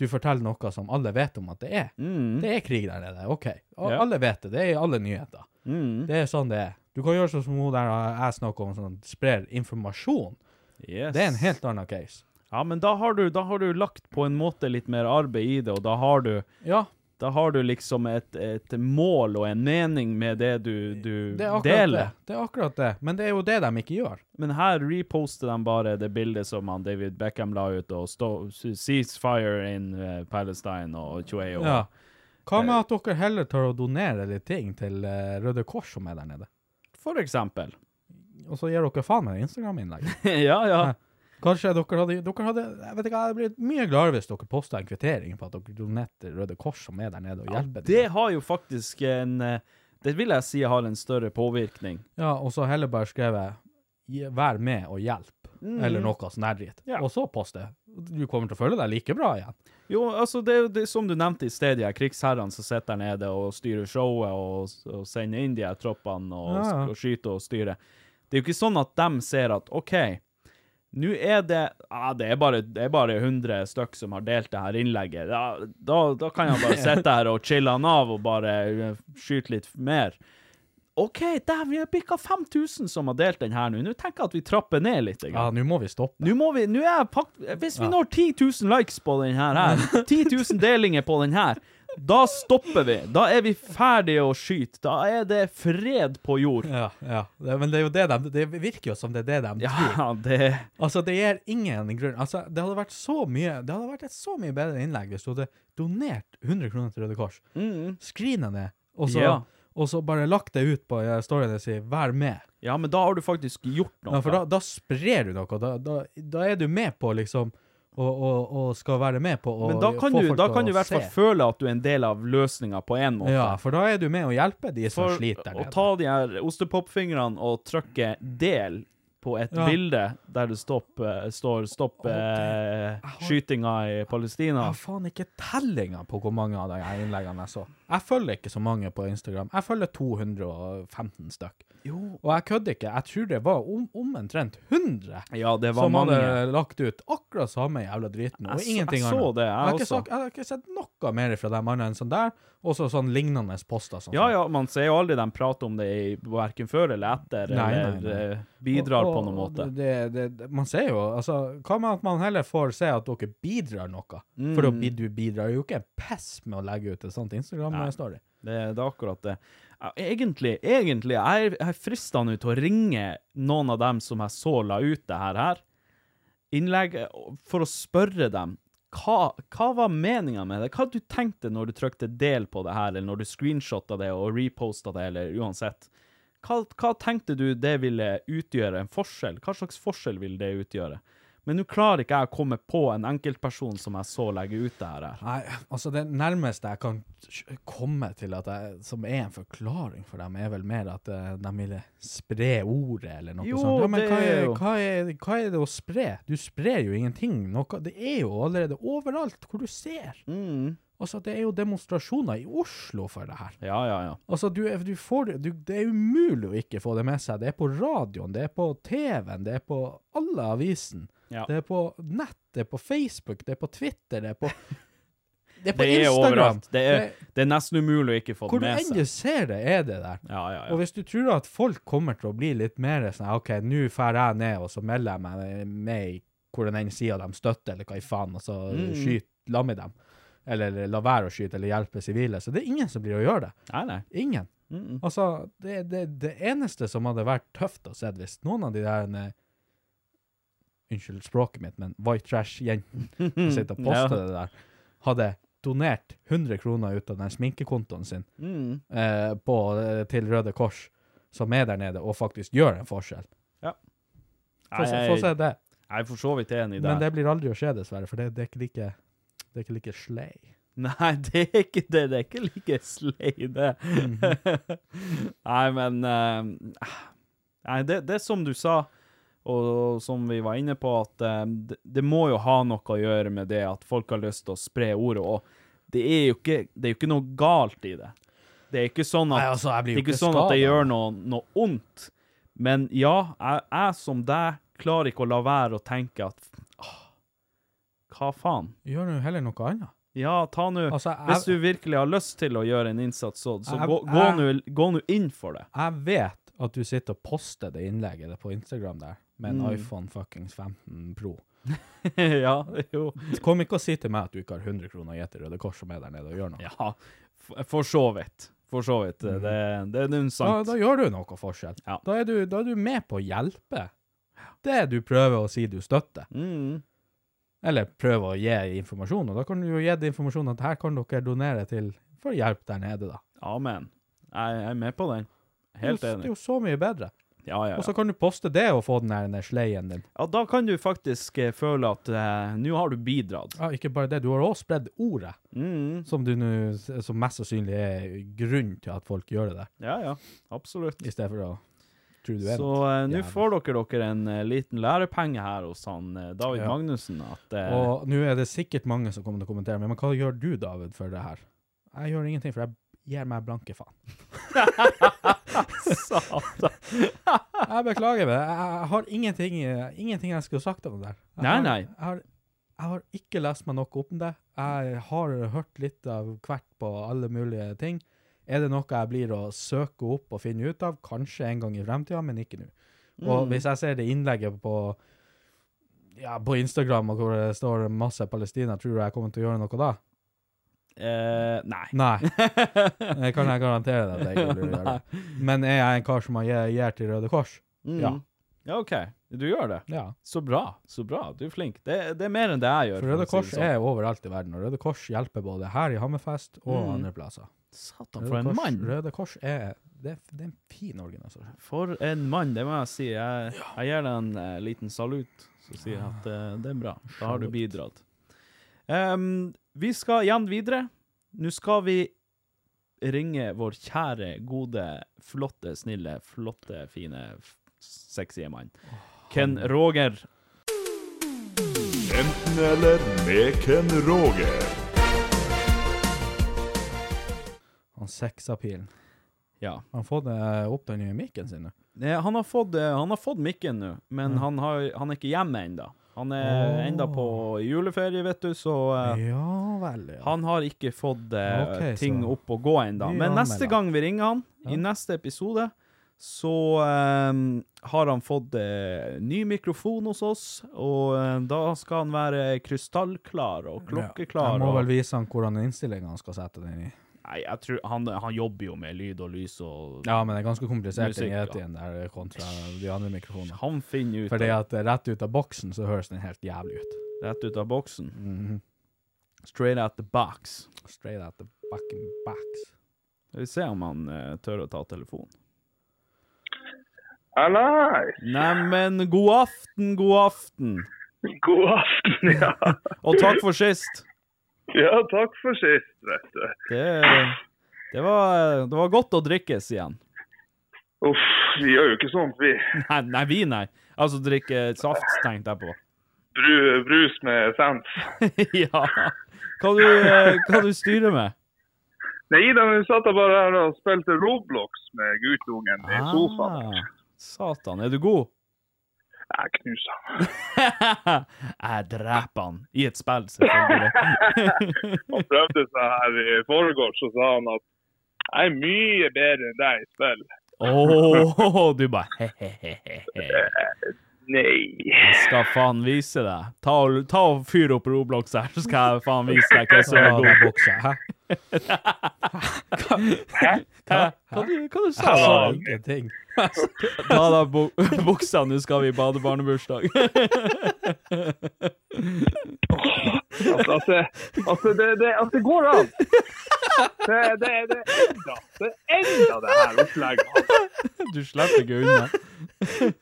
du forteller noe som alle vet om at det er.
Mm.
Det er krig der nede, OK. Og
Ja.
alle vet det, det er i alle nyheter.
Mm.
Det er sånn det er. Du kan gjøre sånn som hun der jeg snakker om, sånn sprer informasjon.
Yes.
Det er en helt annen case.
Ja, men da har, du, da har du lagt på en måte litt mer arbeid i det, og da har du
Ja,
da har du liksom et, et mål og en mening med det du, du
det er akkurat
deler.
det. Det er akkurat det. Men det er jo det de ikke gjør.
Men her reposter de bare det bildet som han David Beckham la ut, og stå, ceasefire in eh, Palestine og 28 år.
Ja. Hva med at dere heller tør å donere litt ting til eh, Røde Kors som er der nede?
For eksempel.
Og så gir dere faen meg det Instagram-innlegget.
ja, ja.
Hæ? Kanskje dere hadde, dere hadde Jeg vet ikke, jeg hadde blitt mye gladere hvis dere posta en kvittering på at dere donerte til Røde Kors som er der nede, og
ja.
hjelper
Det
dem.
har jo faktisk en eh, Det vil jeg si har en større påvirkning.
Ja, og så heller bare skrevet «Gi- 'vær med og hjelp', eller noe sånn der dritt.
Ja.
Og så poste. Du kommer til å føle deg like bra igjen.
Jo, altså, det er jo det, som du nevnte i sted, de her krigsherrene som sitter der nede og styrer showet og, og sender inn de her troppene og,
Ja, ja.
og skyter og styrer. Det er jo ikke sånn at de ser at OK, nå er det ah, det, er bare, det er bare 100 stykk som har delt det her innlegget. Da, da, da kan jeg bare sitte her og chille han av og bare eh, skyte litt mer. OK, der, vi har bikka 5000 som har delt den her nå. Nå tenker jeg at vi trapper ned litt.
Ja, nå må vi stoppe.
Nå må vi, nå er jeg pakt, Hvis vi når 10 000 likes på den her, her 10 000 delinger på den her, da stopper vi. Da er vi ferdige å skyte. Da er det fred på jord.
Ja, ja. Det, men det er jo det de Det virker jo som det er det de
Ja, det
Altså, det gir ingen grunn. Altså, det hadde vært så mye Det hadde vært et så mye bedre innlegg hvis du hadde donert 100 kroner til Røde Kors.
mm.
Skrina det, og så,
Ja.
og så bare lagt det ut på eh, storyen og si 'vær med'.
Ja, men da har du faktisk gjort noe.
Ja, for da, da sprer du noe. Da, da, da er du med på, liksom, og, og, og skal være med på å
men da kan,
få
du,
folk
da
til
kan
å
du i hvert fall
se.
føle at du er en del av løsninga på en måte.
Ja, for da er du med å hjelpe de som
For
sliter der
å
nede.
ta de her ostepopfingrene og trykke 'del' på et
Ja.
bilde der det stopp, eh, står 'stopp eh, skytinga i
Jeg
Palestina'.
har faen ikke tellinga på hvor mange av de her innleggene jeg så. Jeg følger ikke så mange på Instagram. Jeg følger 215 stykk. Og jeg kødder ikke. Jeg tror det var om, omtrent 100
Ja, det var
som
mange.
hadde lagt ut akkurat samme jævla driten.
Jeg
Og
så-
ingenting
jeg så
annet.
det, jeg
har ikke
også.
sagt- jeg har ikke sett noe mer fra dem annet enn sånn der, og så sånn lignende poster. Sånn.
Ja, ja, man ser jo aldri dem prate om det i- verken før eller etter,
Nei, nei,
eller
nei.
eh, bidrar
Og-
på
og-
noen
og
måte.
Det, det, det, man ser jo, altså, hva med at man heller får se at dere bidrar noe? For da
Mm.
bid- du bidrar jo ikke en pess med å legge ut et sånt Instagram-story.
Det, det er akkurat det. Ja, Egentlig, egentlig, jeg er- jeg er frista nå til å ringe noen av dem som jeg så la ut det her, her innlegg, for å spørre dem hva, hva var meninga med det? Hva du tenkte når du trykte del på det her, eller når du screenshotta det og reposta det, eller uansett? Hva, hva tenkte du det ville utgjøre en forskjell? Hva slags forskjell ville det utgjøre? Men nå klarer ikke jeg å komme på en enkeltperson som jeg så legge ut det her. her.
Nei, altså det nærmeste jeg kan sj- komme til at jeg, som er en forklaring for dem, er vel mer at eh, de ville spre ordet eller noe
Jo,
sånt. Ja, men
det
hva
er
er,
jo-
hva, er, hva er det å spre? Du sprer jo ingenting. Noe, det er jo allerede overalt hvor du ser. Altså, det er jo demonstrasjoner i Oslo for det her.
Mm. Ja, ja, ja.
Altså, du, er- du får, det- du, det er umulig å ikke få det med seg. Det er på radioen, det er på TV-en, det er på alle avisen.
Ja.
Det er på nett, det er på Facebook, det er på Twitter, det er på Det er på
Det er
Instagram.
overalt. Det er,
Det-
det er nesten umulig å ikke få
hvor
det
du
med
enn
seg.
du ser det, er det der.
Ja, ja,
Og
ja.
hvis du tror at folk kommer til å bli litt mer sånn OK, nå drar jeg ned, og så melder jeg meg med i hvordan enn sida de støtter, eller hva i faen, og så
Mm.
skyter la med dem. Eller, eller la være å skyte, eller hjelpe sivile. Så det er ingen som blir å gjøre det.
Nei, nei.
Ingen.
Mm, mm.
Altså, det, det, det eneste som hadde vært tøft å se hvis noen av de der eh, Unnskyld språket mitt, men white trash-jentene som sitter og poster
Ja.
det der, hadde donert 100 kroner ut av den sminkekontoen sin
Mm.
eh, på, eh, til Røde Kors, som er der nede, og faktisk gjør en forskjell. Få se, få se
Jeg
det.
jeg er for så vidt enig
Men
der.
det blir aldri å skje, dessverre, for det, det er ikke like det er ikke like slay.
Nei, det er ikke det. Det er ikke like slei, det.
Mhm.
Nei, men eh, Nei, det, det er som du sa, og som vi var inne på, at eh, det, det må jo ha noe å gjøre med det at folk har lyst til å spre ordet, og det er jo ikke, det er jo ikke noe galt i det. Det er ikke sånn at
Nei, altså, jeg blir
Det
jo
er ikke
ikke
sånn at det
skadet.
gjør noe, noe ondt, men ja, jeg, jeg som deg klarer ikke å la være å tenke at «Åh, Hva faen?
Gjør nå heller noe annet.
Ja, ta nå
Altså, jeg-
Hvis du virkelig har lyst til å gjøre en innsats, så, så
Jeg-
gå- gå nå- gå nå inn for det.
Jeg vet at du sitter og poster det innlegget på Instagram der, med en
Mm.
iPhone fuckings 15 Pro.
ja, jo.
Kom ikke og si til meg at du ikke har 100 kroner i et Røde Kors som er der nede og gjør noe.
Ja, f- for så vidt. For så vidt. Det, det er noen
Da,
sant.
Mm. da gjør du noe forskjell.
Ja.
Da, er du, da er du med på å hjelpe det du prøver å si du støtter,
Mm.
eller prøver å gi informasjon, og da kan du jo gi det informasjon at her kan dere donere til for hjelp der nede, da.
Amen. Jeg, jeg er med på den. Helt
Det er jo- Det er
enig.
jo så mye bedre.
Ja, ja,
Og
ja.
så kan du poste det og få den der den sleien din.
ja. Da kan du faktisk eh, føle at eh, nå har du bidratt.
Ja, ikke bare det, du har også spredd ordet,
Mm.
som, du nå- som mest sannsynlig er grunnen til at folk gjør det der.
Ja, ja. Absolutt.
i stedet for å tro du er
Så
noe.
eh, nå
Jævlig.
får dere dere en eh, liten lærepenge her hos han eh, David
Ja.
Magnussen. At, eh,
Og nå er det sikkert mange som kommer til å kommentere, men hva gjør du, David, for det her? Jeg gjør ingenting, for jeg gir meg blanke faen.
Satan.
Jeg beklager det. Jeg, jeg har ingenting, eh, ingenting jeg skulle sagt om det der. Jeg
Nei,
har,
nei.
Jeg har, jeg har ikke lest meg noe opp om det. Jeg har hørt litt av hvert på alle mulige ting. Er det noe jeg blir å søke opp og finne ut av? Kanskje en gang i fremtida, men ikke nå. Og
Mm.
hvis jeg ser det innlegget på ja, på Instagram og hvor det står masse Palestina, tror du jeg kommer til å gjøre noe da?
Eh, nei.
Nei, Eh, det kan jeg garantere deg at jeg ikke vil gjøre det. Men er jeg en kar som har gje- gjer til Røde Kors?
Mm.
Ja.
Ja, OK. Du gjør det.
Ja.
Så bra. Så bra. Du er flink. Det, det er mer enn det jeg gjør.
For Røde
å si
Kors
det sånn.
er overalt i verden, og Røde Kors hjelper både her i Hammerfest og
Mm.
andre plasser.
Satan, for
Røde
en
Kors,
mann!
Røde Kors er det, er- det er en fin organisasjon.
For en mann, det må jeg si. Jeg, jeg gir deg en eh, liten salut, så sier jeg at eh, det er bra. Da har du
Salut.
bidratt. Em, vi skal igjen videre. Nå skal vi ringe vår kjære, gode, flotte, snille, flotte, fine, f- sexy mann. Ken Roger.
Enten eller med Ken Roger.
Han seksa pilen.
Ja.
Han har fått eh, opp den nye mikken sin nå.
Eh, Han har fått, eh, han har fått mikken nå, men han, har, han er ikke hjemme ennå. Han er
Mm. Åh.
enda på juleferie, vet du, så eh,
Ja vel, ja.
han har ikke fått eh,
Ok,
ting
så-
opp og gå ennå. Men
Vi anmelder.
neste gang vi ringer han, i neste episode, så eh, har han fått eh, ny mikrofon hos oss, og eh, da skal han være krystallklar og klokkeklar.
Jeg må
og-
vel vise han hvordan innstillinga han skal sette den i.
Nei, jeg tror han, han jobber jo med lyd og lys og
Ja, men det er ganske komplisert den
Musikk, ja.
yetien der eh, kontra de andre mikrofonene.
Han finner ut
Fordi
av-
at eh, rett ut av boksen så høres den helt jævlig ut.
rett ut av boksen. Straight out the box.
Straight out the fucking backs.
Vi ser om han eh, tør å ta telefonen.
Hallais!
Neimen, god aften, god aften.
God aften, ja.
Og takk for sist.
Ja, takk for sist, vet du.
Det, det, var, det var godt å drikkes igjen.
Uff, vi gjør jo ikke sånt, vi.
Nei, nei vi, nei. Altså drikke saft, tenkte jeg på.
Bru, brus med sens.
ja. Hva du, eh, hva du styrer med?
Nei da, men vi satt da bare her og spilte Roblox med guttungen i sofaen.
Ah, satan, er du god?
Jeg knuser han.
jeg dreper han. I et spill, selvfølgelig.
Han prøvde seg her i forgårs, og sa han at jeg er mye bedre enn deg i spill.
Åh, du bare he-he-he.
Nei.
Jeg skal faen vise deg. Ta og, ta og fyr opp Roblox her, så skal jeg faen vise deg hva som er
Ah,
god.
buksa, hæ?
Hæ? Hva du, hva du sa
Jeg sa
du?
ingenting.
Ta av deg bu buksa, nå skal vi i badebarnebursdag.
Altså, at det, altså, det, det, at det går an. Det, det, det, enda, det enda det her opplegget. Altså,
Du slipper ikke unna.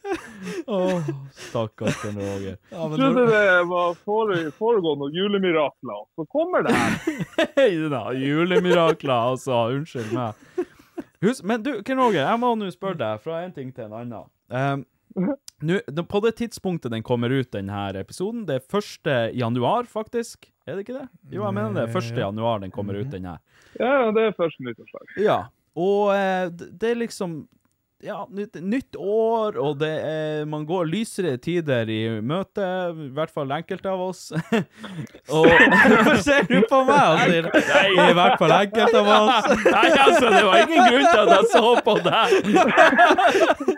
Åh, stakkars Ken Roger.
Ja, men
Trodde
når,
det var fore- foregående julemirakler, så kommer det her.
Hei da, julemirakler, altså. Unnskyld meg. Hus- men du, Ken Roger, jeg må nå spørre deg fra en ting til en annen. Ehm, nå- nå- på det tidspunktet den kommer ut, denne episoden, det er 1. januar, faktisk. Er det ikke det? Jo, jeg mener det. er 1. januar den kommer ut, den her.
Ja, ja, det er første nyttårsdag.
Ja. Og eh, d- det er liksom ja, nytt, nytt år, og det er, man går lysere tider i møte, i hvert fall enkelte av oss. og Hvorfor ser du på meg og sier
I hvert fall enkelte av oss.
Nei, altså, det var ingen grunn til at jeg så på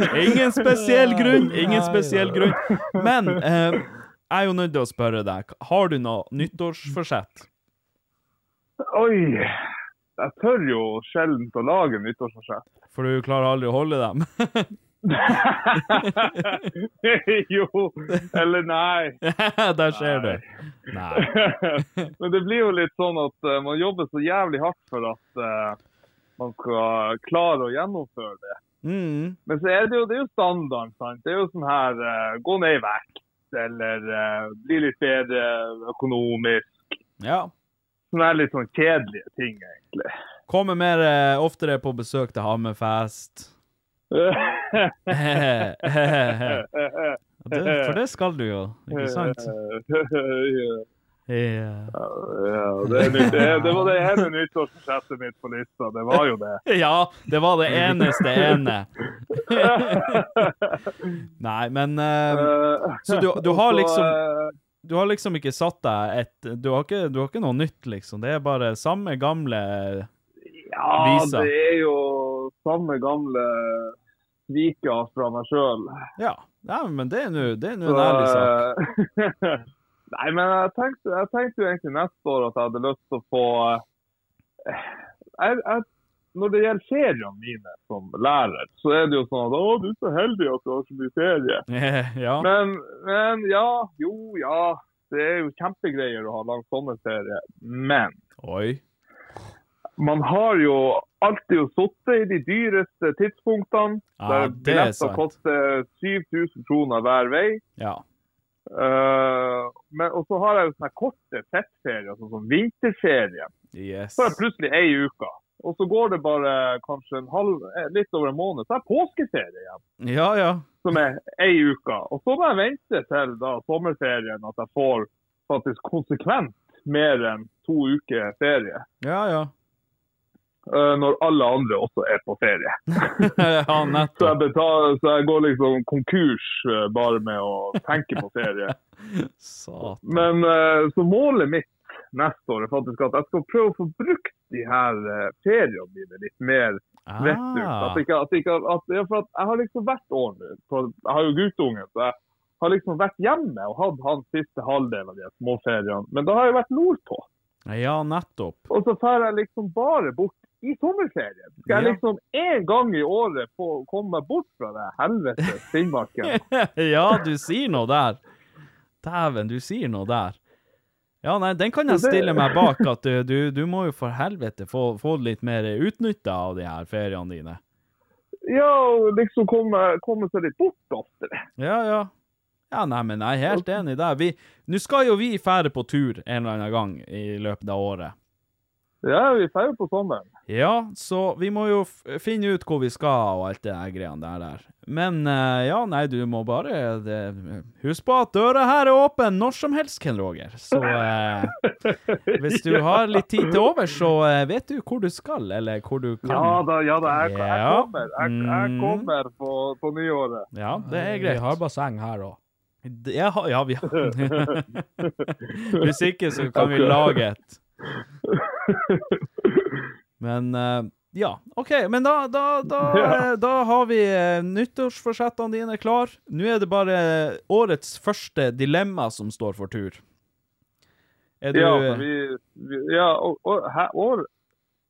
deg. Ingen spesiell grunn, ingen spesiell grunn. Men eh, jeg er jo nødt til å spørre deg, har du noe nyttårsforsett?
Oi. Jeg tør jo sjelden å lage nyttårsforsett.
For du klarer aldri å holde dem.
jo, eller nei.
Der ser du. Nei.
Men det blir jo litt sånn at eh, man jobber så jævlig hardt for at eh, man skal klare å gjennomføre det.
Mm.
Men så er det jo, det er jo standarden, sant. Det er jo sånn her eh, gå ned i vekt, eller eh, bli litt bedre økonomisk.
Ja.
Sånne her litt sånn kjedelige ting, egentlig.
Kommer mer eh, oftere på besøk til Hammerfest. For det skal du jo, ikke sant? Ja.
Ja, det, er nytt. det, det var det ene nyttårsforsettet mitt på lista. Det var jo det.
Ja, det var det eneste ene. Nei, men eh, Så du- du har
Og så,
liksom-
eh,
Du har liksom ikke satt deg et Du har ikke, du har ikke noe nytt, liksom. Det er bare samme gamle
Ja,
Visa.
det er jo samme gamle svika fra meg sjøl.
Ja. Nei, men det er nå det er nå en ærlig sak.
Så- Nei, men jeg tenkte, jeg tenkte jo egentlig neste år at jeg hadde lyst til å få eh, jeg, jeg, Når det gjelder feriene mine som lærer, så er det jo sånn at å, du er så heldig at du har så mye ferie.
Ja.
Men, men ja, jo, ja. Det er jo kjempegreier å ha lang sommerferie. Men
Oi.
man har jo alltid sittet i de dyreste tidspunktene.
Ja,
der
det er
billetter
sant.
koster 7000 kroner hver vei.
Ja.
Eh, men, og så har jeg jo sånne korte fettferier, sånn som vinterferie.
Yes.
Så er det plutselig ei uke. Og så går det bare kanskje en halv, eh, litt over en måned, så er det påskeferie igjen.
Ja, ja.
som er ei uke. Og så må jeg vente til da sommerferien at jeg får faktisk konsekvent mer enn to uker ferie.
Ja, ja.
eh, Når alle andre også er på ferie.
ja,
Så jeg, betaler, så jeg går liksom konkurs eh, bare med å tenke på ferie.
Satan.
Men eh, så målet mitt neste år er faktisk at jeg skal prøve å få brukt de her eh, feriene mine litt mer
Ah.
vettug. At ikke, at ikke, at, ja, for at jeg har liksom hvert år nå, for jeg har jo guttungen, så jeg har liksom vært hjemme og hatt hans siste halvdel av de her småferiene. Men da har jeg vært nordpå.
Ja, nettopp.
Og så drar jeg liksom bare bort i sommerferien. Skal jeg
Ja.
liksom én gang i året få komme meg bort fra det helvetes Finnmarken?
ja, du sier noe der. Dæven, du sier noe der. Ja, nei, den kan jeg
Så det-
stille meg bak, at du, du, du må jo for helvete få, få litt mer utnytta av de her feriene dine.
Ja, og liksom komme, komme seg litt bort oftere.
Ja, ja. Ja, nei, men jeg er helt enig der. Vi- Nå skal jo vi fære på tur en eller annen gang i løpet av året.
Ja, vi drar jo på sommeren.
Ja, så vi må jo f finne ut hvor vi skal og alt det der greiene der. der. Men eh, ja, nei, du må bare det, Husk på at døra her er åpen når som helst, Ken Roger. Så eh, hvis du har litt tid til over, så eh, vet du hvor du skal, eller hvor du kan.
Ja da, ja da. Jeg, jeg
Ja.
kommer, jeg, jeg
Mm.
kommer på, på nyåret.
Ja, det er greit.
Vi har basseng her òg.
Det- Jeg har, ja, vi har Hvis ikke, så kan vi lage et. Men eh, ja, OK. Men da, da, da,
Ja.
eh, da har vi eh, nyttårsforsettene dine klar. Nå er det bare årets første dilemma som står for tur. Er du
Ja, for vi, vi, ja, og, og, hæ, år?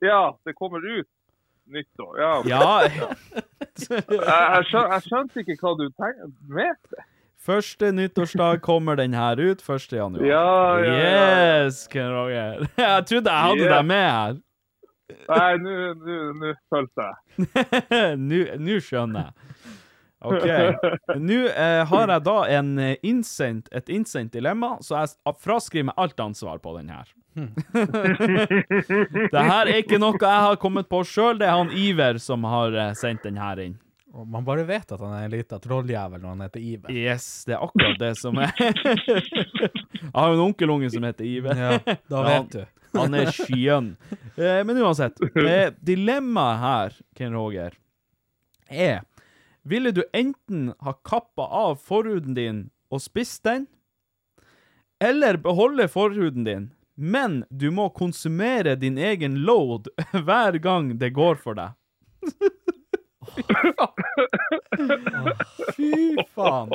ja, det kommer ut nyttår. Ja.
Ja.
jeg, jeg, skjøn, jeg skjønte ikke hva du tenkte med det.
Første nyttårsdag kommer den her ut 1. januar.
Ja, ja, ja,
Yes, Ken Roger. Jeg trodde jeg hadde
Yeah.
deg med her.
Nei, nå- nå nå følte jeg.
Nå nå skjønner jeg. OK. Nå eh, har jeg da en eh, innsendt, et innsendt dilemma, så jeg s- fraskriver meg alt ansvar på den her. det her er ikke noe jeg har kommet på sjøl, det er han Iver som har eh, sendt den her inn.
Og Man bare vet at han er en liten trolljævel når han heter Iver.
Yes, det er akkurat det som er Jeg har jo en onkelunge som heter Iver.
Ja, da
Ja,
vet du.
Han, han er skjønn. Eh, men uansett. Eh, dilemmaet her, Ken Roger, er Ville du enten ha kappa av forhuden din og spist den, eller beholde forhuden din, men du må konsumere din egen load hver gang det går for deg? Fy faen.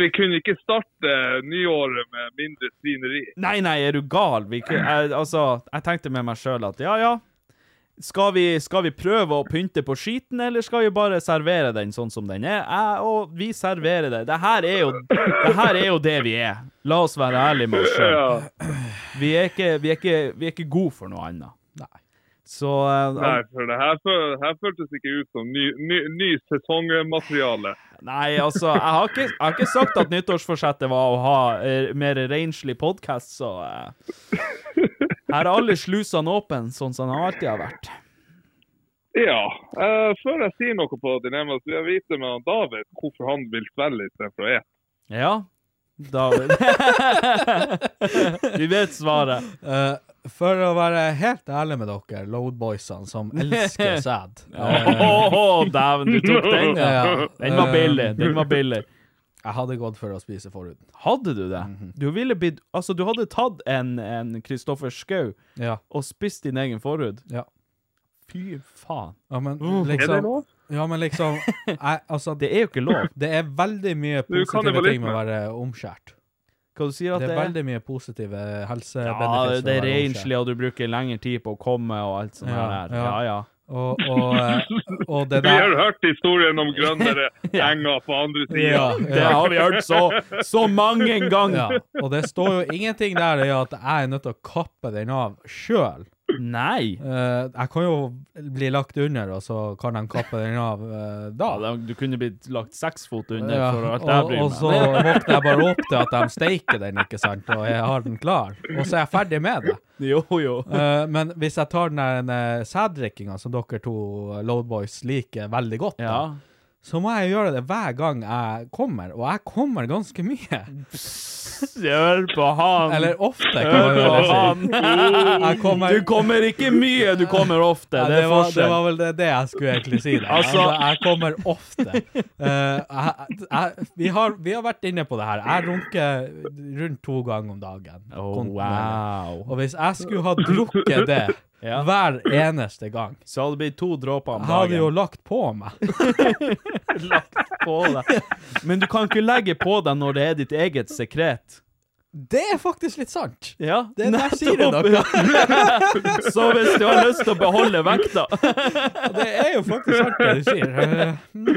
Vi kunne ikke starte eh, nyåret med mindre svineri.
Nei, nei, er du gal? Vi, kan- jeg, altså, jeg tenkte med meg sjøl at ja, ja. Skal vi, skal vi prøve å pynte på skiten, eller skal vi bare servere den sånn som den er? Jeg, og vi serverer det. Det her er jo det, her er jo det vi er. La oss være ærlige med oss sjøl. Vi, er ikke- vi, er ikke- vi er ikke gode for noe annet. Så eh,
Nei, for det her, føl- her føltes ikke ut som ny, ny, ny sesongmateriale.
Nei, altså, jeg har, ikke, jeg har ikke sagt at nyttårsforsettet var å ha eh, mer renslig podkast, så eh, Her er alle slusene åpne, sånn som de alltid har vært.
Ja. eh, før jeg sier noe på dilemmaet, så vil jeg vite med han David hvorfor han vil svelge istedenfor å ete.
Ja, David. Du vet svaret.
Eh, for å være helt ærlig med dere, Loadboysene som elsker sæd eh,
Åh, dæven, du tok den, ja. Den var
Eh.
billig, den var billig.
Jeg hadde gått for å spise forhuden.
Hadde du det?
Mhm.
Du ville blitt Altså, du hadde tatt en, en Kristoffer Schou
Ja.
og spist din egen forhud?
Ja.
Fy faen.
Ja, men
Uh, er det
liksom
lov?
Ja, men liksom jeg, altså,
Det er jo ikke lov.
Det er veldig mye
Du,
positive ting med å
kannibalisme.
være omskjært.
Hva du sier at
Det er
det er?
veldig mye positive
Ja, det
helsebenefits.
er
med å være omskjært.
renslig, og du bruker lengre tid på å komme og alt sånt
Ja,
der. Ja,
ja.
ja.
Og, og, eh, og det
Vi
der
har hørt historien om grønnere enger på andre siden.
Ja,
Det har vi hørt så, så mange ganger.
Ja, og det står jo ingenting der i at jeg er nødt til å kappe den av sjøl.
Nei.
jeg kan jo bli lagt under, og så kan de kappe den av eh, da.
Ja, Du kunne blitt lagt seks fot under
Ja,
for alt jeg
og,
bryr
og så
meg om.
våkner jeg bare opp til at de steiker den, ikke sant, og jeg har den klar. Og så er jeg ferdig med det.
Jo, jo.
Eh, men hvis jeg tar den der eh, sæddrikkinga som dere to eh, Loadboys liker veldig godt, da, så må jeg gjøre det hver gang jeg kommer, og jeg kommer ganske mye.
Hør på han!
Eller ofte, kan
Hør
man jo
på
si.
han!
Jeg kommer-
Du kommer ikke mye, du kommer ofte.
Ja,
det er
var, det
forskjell.
var vel det, det jeg skulle egentlig si. der.
Altså-
Altså, jeg kommer ofte. Eh, jeg, jeg, vi, har, vi har vært inne på det her. Jeg runker rundt to ganger om dagen. kontinuerlig.
Oh, wow.
Og hvis jeg skulle ha drukket det hver eneste gang
Så hadde det blitt to dråper om
Jeg hadde
dagen.
jo lagt på meg.
lagt på deg. Men du kan ikke legge på deg når det er ditt eget sekret.
Det er faktisk litt sant.
Ja,
Det der sier du
noe. Så hvis du har lyst til å beholde vekta
Det er jo faktisk sant, det du sier. Eh, mm.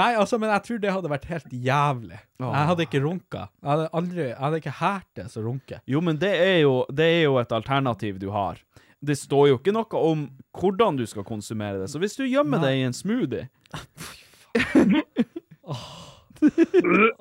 Nei, altså, men jeg tror det hadde vært helt jævlig. Jeg hadde ikke runka. Jeg hadde, aldri, jeg hadde ikke hært det som runke.
Jo, men det er jo, det er jo et alternativ du har. Det står jo ikke noe om hvordan du skal konsumere det. Så hvis du gjemmer deg i en smoothie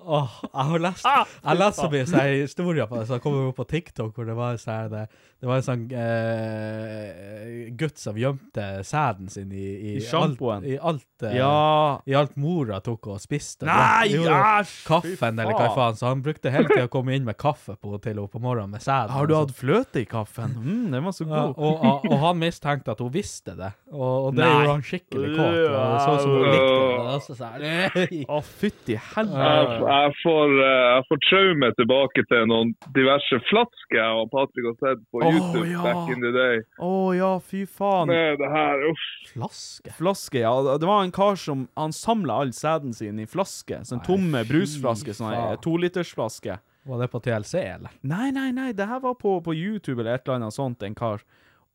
Åh, jeg har lest
Ah,
Jeg leste så mye sånne historier på det, så jeg kom jo på TikTok hvor det var sånn det, det var en sånn eh, gutt som gjemte sæden sin i,
I
Alt,
sjampoen.
I alt, eh,
Ja.
i alt mora tok og spiste.
Nei,
Jo, jo,
æsj, fy
Kaffen, eller hva
faen.
faen. Så han brukte hele tida å komme inn med kaffe på hotellet på morgenen med sæden.
Har du
og
hatt fløte i kaffen? Mm, den var så
ja,
god.
og, og, og han mistenkte at hun visste det, og, og det
Nei.
gjorde han skikkelig kåt. Og det så ut som hun likte det. Og så sa jeg,
Å, fytti
Jeg,
helvete.
jeg, får, eh, jeg får traume tilbake til noen diverse flasker jeg og Patrick har sett på
Åh,
YouTube
ja.
back in the day.
Å ja, fy faen.
Med det her, uff.
Flaske?
Flaske, ja. Det var en kar som han samla all sæden sin i flaske. Sånn tomme brusflaske, sånn ei
faen.
tolitersflaske.
Var det på TLC, eller?
Nei, nei, nei, det her var på, på YouTube eller et eller annet sånt, en kar.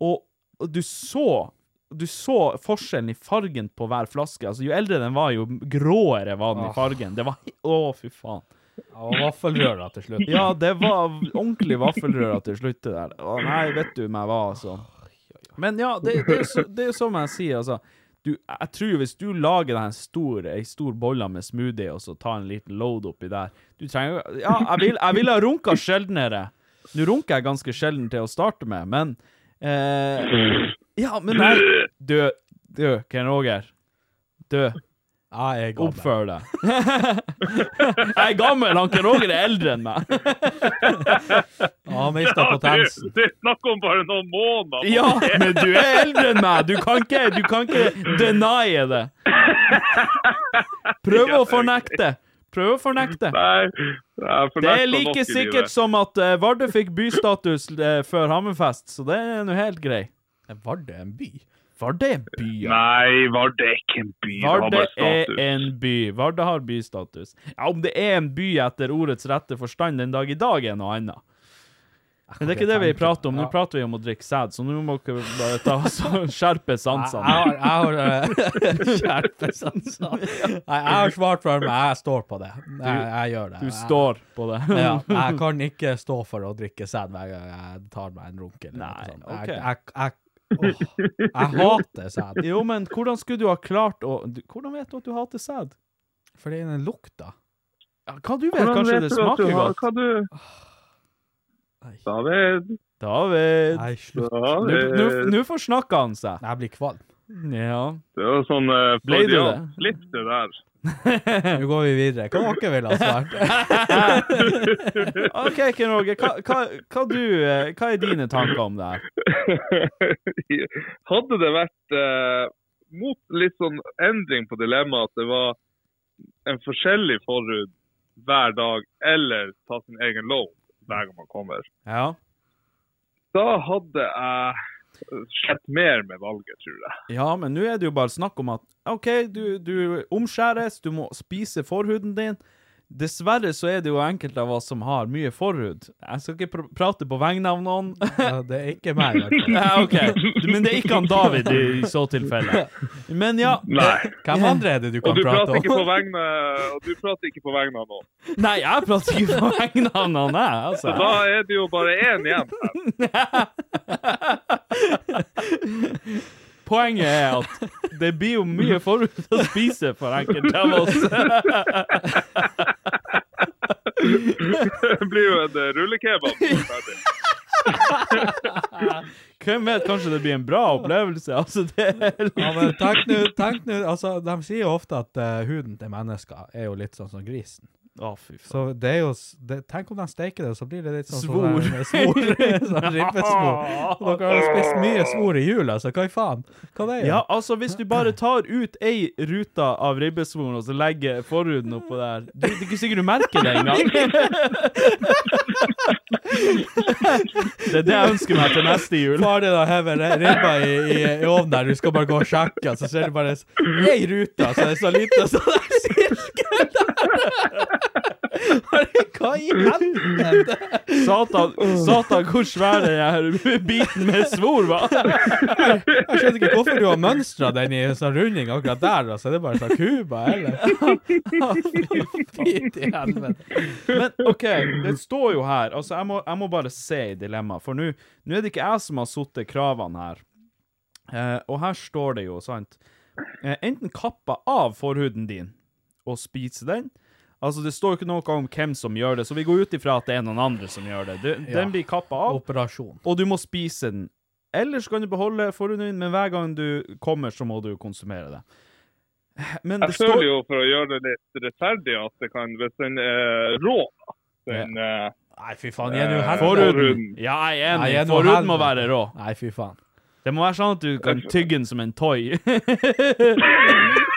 Og, og du så du så forskjellen i fargen på hver flaske. Altså, Jo eldre den var, jo gråere var den i
Ah.
fargen. Det var he- Å, fy faen.
Og vaffelrøra til slutt.
Ja, det var ordentlig vaffelrøra til slutt det der. Å, nei, vet du meg hva, altså. Men ja, det, det, er så, det er jo som jeg sier, altså. Du, jeg tror hvis du lager deg en stor, ei stor bolle med smoothie, og så tar en liten load oppi der Du trenger jo Ja, jeg vil- jeg ville ha runka sjeldnere. Nå runker jeg ganske sjelden til å starte med, men eh, Ja, men nei Dø. Dø, Ken Roger. Dø.
Jeg er gammel.
Oppfør deg. Jeg er gammel, han Ken Roger er eldre enn meg.
Ja, mista potensen.
Det er snakk om bare noen måneder.
Ja, men du er eldre enn meg! Du kan ikke, du kan ikke denie det. Prøv å fornekte. Prøv å fornekte.
Nei, jeg
Det er
fornekter nok i
like
livet.
sikkert som at eh, Vardø fikk bystatus eh, før Hammerfest, så det er nå helt grei.
Vardø er en by?
Vardø er en by, ja.
Nei, Eh, Vardø er ikke en by. det har
Vardø
bare
er
status.
en by. Vardø har bystatus. Ja, om det er en by etter ordets rette forstand den dag i dag, er noe annet. Men det er ikke det vi prater om. Nå prater vi om å drikke sæd, så nå må dere bare ta, så, skjerpe
Jeg
sansene.
har, jeg har eh, Skjerpe sansene. Nei, jeg har svart for meg, jeg står på det. Jeg, jeg gjør det.
Du
Jeg-
står på det.
Ja, jeg kan ikke stå for å drikke sæd hver gang jeg tar meg en runk. Eller noe
Nei,
sånt.
ok.
Jeg, jeg, jeg, åh, jeg hater sæd.
Jo, men hvordan skulle du ha klart å du, Hvordan vet du at du hater sæd?
Fordi den lukta.
Ja, Hva du vet?
Hvordan
Kanskje
vet
det
du at du
smaker
har-
godt?
Hva du...
Nei.
David,
David
Nei, slutt.
Nå- nå-
David.
Nå forsnakker han seg.
Jeg blir kvalm.
Ja.
Det var sånn uh,
Ble du det?
Litt det der.
Nå går vi videre. Hva dere ville ha svart?
OK, Ken Roger. Hva, hva, hva, du, eh, hva er dine tanker om det her?
Hadde det vært eh, mot litt sånn endring på dilemmaet at det var en forskjellig forhud hver dag, eller ta sin egen lov hver gang man kommer,
Ja.
da hadde jeg sett mer med valget, tror jeg.
ja, men nå er det jo bare snakk om at OK, du, du omskjæres, du må spise forhuden din. Dessverre så er det jo enkelte av oss som har mye forhud. Jeg skal ikke pr prate på vegne av noen.
Ja, det er ikke meg. i hvert fall.
Ja, OK. Men det er ikke han David i, i så tilfelle. Men ja.
Nei.
Hvem andre er det du kan
Og du
prate
prater
om?
ikke på vegne, og du prater ikke på vegne av noen.
Nei, jeg prater ikke på vegne av noen, jeg,
Så da
altså.
er det jo bare én igjen.
Poenget er at det blir jo mye forut å spise for enkelte av oss.
Det blir jo en eh, rullekebab. som er ferdig.
Hvem vet, kanskje det blir en bra opplevelse? Altså, det er
Ja, men tenk nå, tenk nå, altså, de sier jo ofte at eh, huden til mennesker er jo litt sånn som grisen.
Å, fy faen.
Så det er jo, s- det, tenk om de steker det, så blir det litt sånn
Svor.
Som, eh, svor. sånn ribbesvor. Og Dere har jo spist mye svor i jula, så hva i faen? Hva det er?
Ja, altså, hvis du bare tar ut ei rute av ribbesvoren og så legger forhuden oppå der du, Det er ikke sikkert du merker det engang. Det er det jeg ønsker meg til neste jul.
Far din har hevet ribba i, i, i ovnen der, du skal bare gå og sjekke, så ser du bare s- ei rute, så det er så lite, så det er sirkel der! Bare, Hva i helvete?
Satan, satan hvor svær den her biten med svor var.
Jeg skjønner ikke hvorfor du har mønstra den i en sånn runding akkurat der. Altså. Det er bare sånn Cuba, eller? Fy til helvete.
Men OK, det står jo her. Altså, jeg må, jeg må bare se i dilemmaet, for nå nå er det ikke jeg som har satt kravene her. Eh, og her står det jo, sant eh, Enten kappa av forhuden din og spise den. Altså, det står jo ikke noe om hvem som gjør det, så vi går ut ifra at det er noen andre som gjør det. Du,
Ja.
Den blir kappa av,
Operasjon.
og du må spise den. Ellers kan du beholde forhuden din, men hver gang du kommer, så må du konsumere det. Men det
Jeg føler
står
jo, for å gjøre det litt rettferdig, at det kan, hvis den er rå, da, den eh,
Nei, fy faen. Jeg er nå helvete.
Forhuden. Ja, jeg er
Nei, jeg er
enig.
noe
Forhuden må
helvete.
være rå.
Nei, fy faen.
Det må være sånn at du kan tygge den som en toy.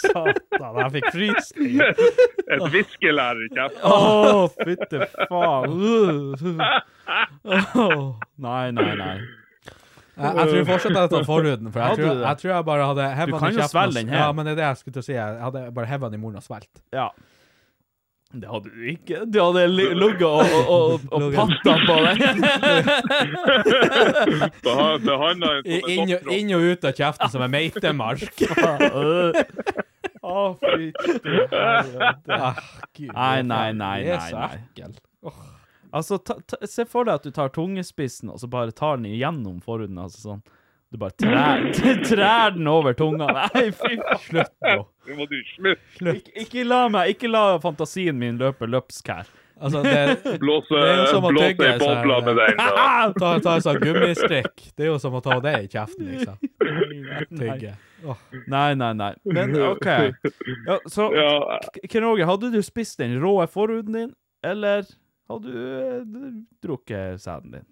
Satan, jeg fikk frysning.
Et viskelær i kjeften.
Å, fytte faen. Åh, Nei, nei, nei.
Jeg, jeg tror fortsatt jeg hadde tatt forhuden. For jeg,
Hadde du
tror,
det?
jeg tror jeg bare hadde
Du
hevet den
kan
i
jo
kjeften
svelge
og s-
den her.
Ja, men det er det jeg skulle til å si. Jeg hadde bare hevet den i munnen og svelget.
Ja. Det hadde du ikke. Du hadde li- ligget og, og, og, og patta på den.
Beha- Behandla den
I-
som en
Inn, og-
doktor.
inn og ut av kjeften som en meitemark.
Å, fytte helvete.
Ah, Gud,
Nei, nei, nei,
det er
nei,
så
nei.
ekkel. Åh.
Altså, ta, ta, se for deg at du tar tungespissen, og så bare tar den igjennom forhuden. Altså sånn. Du bare trær, trær den over tunga. Nei, fy faen.
Slutt nå.
Nå må du slutte
Ik ikke la meg, ikke la fantasien min løpe løpsk her.
Altså, det,
blåse
Det er jo som å
blåse
tygge,
i bobla
så-
med den. da.
ta, ta en sånn gummistrikk. Det er jo som å ta det i kjeften, liksom. Tygge. Åh.
Nei, nei, nei. Men OK. Ja, så
Ja,
K- Ken Roger, hadde du spist den råe forhuden din, eller hadde du eh, d- drukket sæden din?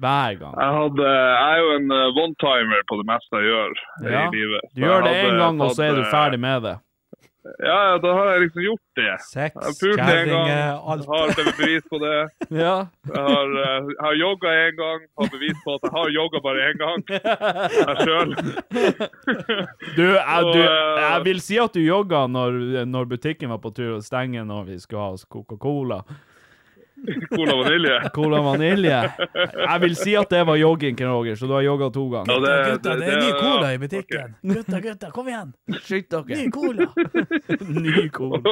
Hver gang.
jeg, hadde, jeg er jo en eh, one-timer på det meste jeg gjør
Ja,
i livet.
Du
Så
gjør det
jeg hadde
én gang, og
tatt,
så er du
eh,
ferdig med det.
Ja, ja, da har jeg liksom gjort det.
Sex,
Jeg har pult én gang,
kjerringer, alt.
har det bevis på det.
Ja.
Jeg har, eh, jeg har jogga én gang, har bevis på at jeg har jogga bare én gang. Jeg sjøl.
Du, jeg,
Og,
du,
eh,
jeg vil si at du jogga når, når butikken var på tur å stenge når vi skulle ha oss Coca-Cola.
Cola vanilje.
Cola vanilje. Jeg vil si at det var jogging, Ken Roger, så du har jogga to
Ja,
ganger.
Gutta, det er ny
ja.
cola i butikken. Gutta, gutta, kom igjen.
Skyt dere.
Ny cola.
Ny cola.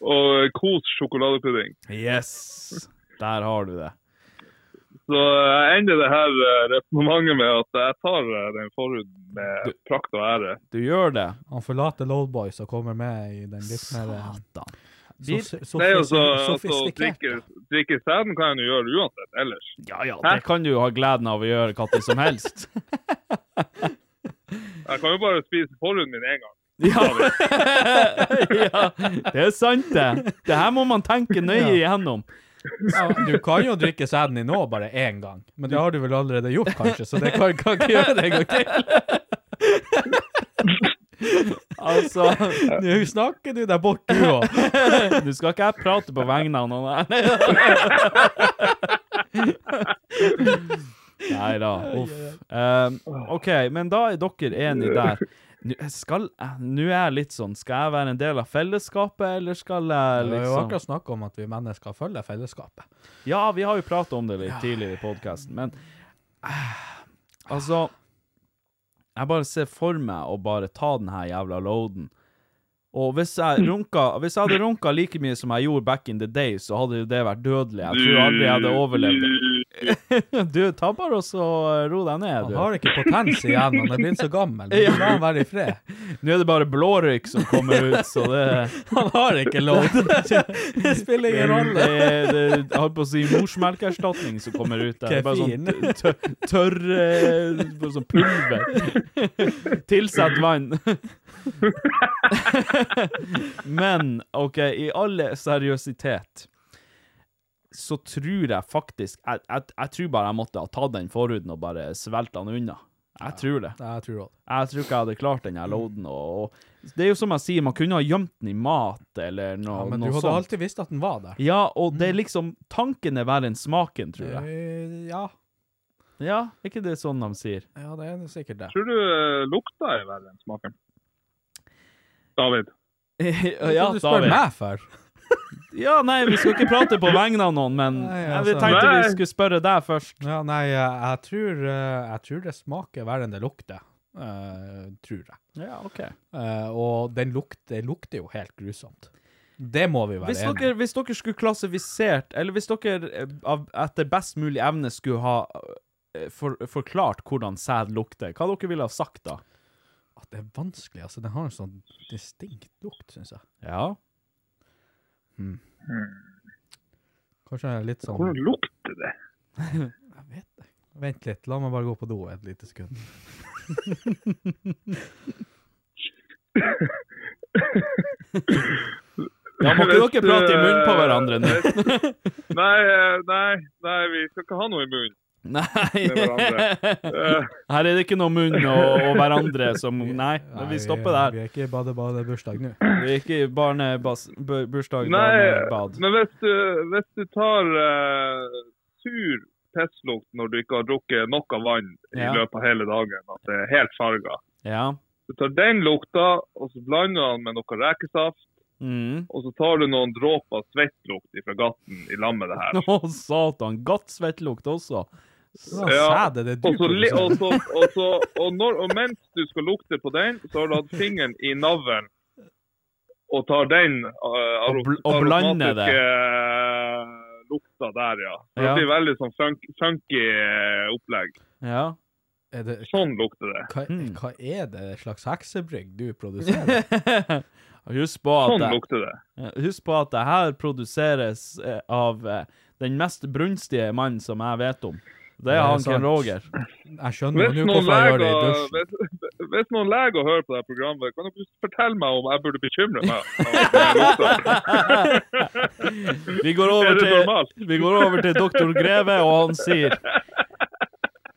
Og Kos sjokoladepudding.
Yes. Der har du det.
Så eh, jeg ender det her resonnementet med at jeg tar eh, den forhuden med prakt og ære.
Du gjør det.
Han forlater Lowboys og kommer med i den litt mer eh,
Satan.
sof-
Det er jo så
sofis-
altså, å drikke,
sofistikerte.
drikke sæden kan en jo gjøre uansett ellers.
Ja, ja, det kan du jo ha gleden av å gjøre hva tid som helst.
Jeg kan jo bare spise forhuden min én gang.
Ja. ja, det er sant, det. Det her må man tenke nøye igjennom.
Ja, du kan jo drikke sæden din nå bare én gang, men det har du vel allerede gjort, kanskje, så det kan, kan ikke gjøre det en gang til.
Altså,
Nå snakker du deg bort, du òg.
nå skal ikke jeg prate på vegne av noen her. Nei da, uff. Um, OK, men da er dere enige der. Nå skal jeg- nå er jeg litt sånn Skal jeg være en del av fellesskapet, eller skal jeg
Vi har jo
liksom
akkurat snakket om at vi mennesker følger fellesskapet.
Ja, vi har jo prata om det litt tidligere i podkasten, men eh, Altså Jeg bare ser for meg å bare ta den her jævla loaden. Og hvis jeg runka Hvis jeg hadde runka like mye som jeg gjorde back in the day, så hadde jo det vært dødelig. Jeg tror aldri jeg hadde overlevd det. Du, ta bare og så eh, ro deg ned, du.
Han har ikke potens igjen, han er blitt så gammel.
Ja.
La han være i fred.
Nå er det bare blårøyk som kommer ut, så det
Han har ikke lov. Det spiller ingen rolle.
Det, eh, det, jeg holdt på å si morsmelkerstatning som kommer ut der. Det er Bare sånn
Kefir.
tø- tø- tørr eh, bare sånn pulver. Tilsett vann. Men OK, i all seriøsitet så tror jeg faktisk jeg, jeg, jeg tror bare jeg måtte ha tatt den forhuden og bare svelta den unna. Jeg tror det.
Jeg tror også.
Jeg tror ikke jeg hadde klart den her loaden. Og, og det er jo som jeg sier, man kunne ha gjemt den i mat eller noe,
Ja, men du
noe
hadde
sånt.
alltid visst at den var der.
Ja, og det er liksom Tanken er verre enn smaken, tror jeg.
Eh, Ja,
Ja, er ikke det sånn de sier?
ja det er sikkert det.
Tror du eh, lukta er verre enn smaken? David.
ja,
du spør
David.
meg for?
Ja, nei, vi skal ikke prate på vegne av noen, men
Nei,
jeg
altså.
tenkte vi
Nei.
skulle spørre deg først.
Ja, nei, eh, jeg tror, eh, jeg tror det smaker verre enn det lukter. Eh, tror jeg.
Ja, ok.
Eh, og den lukter, lukter jo helt grusomt. Det må vi være
Hvis
enige
dere, hvis dere skulle klassifisert, eller hvis dere eh, av, etter best mulig evne skulle ha eh, for, forklart hvordan sæd lukter, hva dere ville ha sagt da?
At det er vanskelig, altså. Den har en sånn distinkt lukt, syns jeg.
Ja.
Kanskje jeg er litt sånn
Hvordan lukter det?
Jeg vet det. Vent litt, la meg bare gå på do et lite sekund.
Da må ikke dere
Hvis,
prate i munnen på
eh,
hverandre nå.
Nei, eh, nei, nei, vi skal ikke ha noe i munnen. med hverandre.
Nei.
Eh,
Her er det ikke noe munn og, og hverandre som Nei, vi stopper der.
Vi er ikke i bade-bade-bursdag nå.
Vi er ikke i barnebursdag,
Nei,
barnebad.
men hvis du, hvis du tar eh, sur pisslukt når du ikke har drukket nok av vann
Ja.
i løpet av hele dagen, at det er helt farga
Ja.
Du tar den lukta, og så blander du den med noe rekesaft,
Mm.
og så tar du noen dråper svettlukt fra gaten i lag med det her.
Å, satan. Godt svettlukt også.
Sånn
Ja,
sæde det du
Og, så, li- og,
produserer.
så, og, så, og, når, og mens du skal lukte på den, så har du hatt fingeren i navlen og tar den uh,
Og bl- og blander det.
eh, lukta der, ja. Det
Ja.
blir veldig sånn funk, funky eh, opplegg.
Ja.
Er det,
Sånn lukter det.
hva,
Hmm.
hva er det slags heksebrygg du produserer?
Husk på at
Sånn
det,
lukter det.
Eh, husk på at det her produseres eh, av eh, den mest brunstige mannen som jeg vet om. Det er
er
han
sant.
Ken Roger.
Jeg skjønner
Hvis
jo nå
noen,
hvorfor jeg gjør det i
leger,
dusjen.
hvis, hvis noen leger hører på dette programmet, kan dere fortelle meg om jeg burde bekymre meg? av den lukta?
Vi går over
Er det
til,
normalt?
vi går over til doktor Greve, og han sier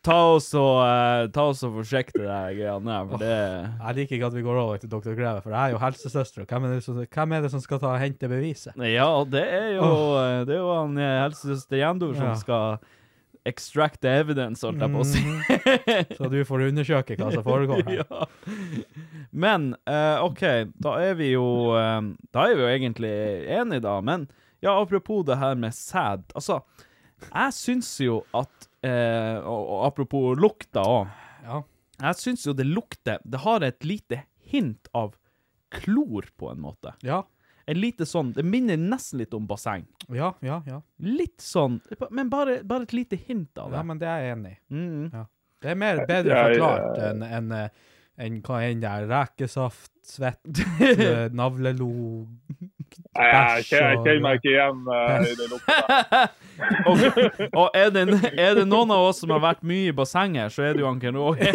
Ta oss og, eh, ta oss og forsiktig deg, greiene her, for det
Jeg liker ikke at vi går over til Dr. Greve, for jeg er jo helsesøster. og Hvem er det som, hvem er det som skal ta og hente beviset?
Ja, det er jo, eh, det er jo han eh, helsesøster Jendor som
Ja.
skal extract the evidence, holdt jeg på å si. Mhm.
Så du får undersøke hva som foregår her.
ja. Men eh, OK, da er vi jo eh, Da er vi jo egentlig enige, da. Men ja, apropos det her med sæd. Altså, jeg syns jo at eh, og, og apropos lukta òg.
Ja.
Jeg syns jo det lukter Det har et lite hint av klor, på en måte.
Ja,
En lite sånn Det minner nesten litt om basseng.
ja, ja. ja.
Litt sånn, men bare, bare et lite hint av det.
ja men det er jeg enig i.
Mm.
Ja. Det er mer, bedre
Jeg-
forklart enn enn, eh, enn hva enn det er. Rekesaft, svett, eh, navlelo
Nei, Jeg
Bæsj
kjenner
og-
jeg kjenner meg ikke igjen eh, i den lukta.
Og, og er, det, er det noen av oss som har vært mye i bassenget, så er det jo Anken Roger.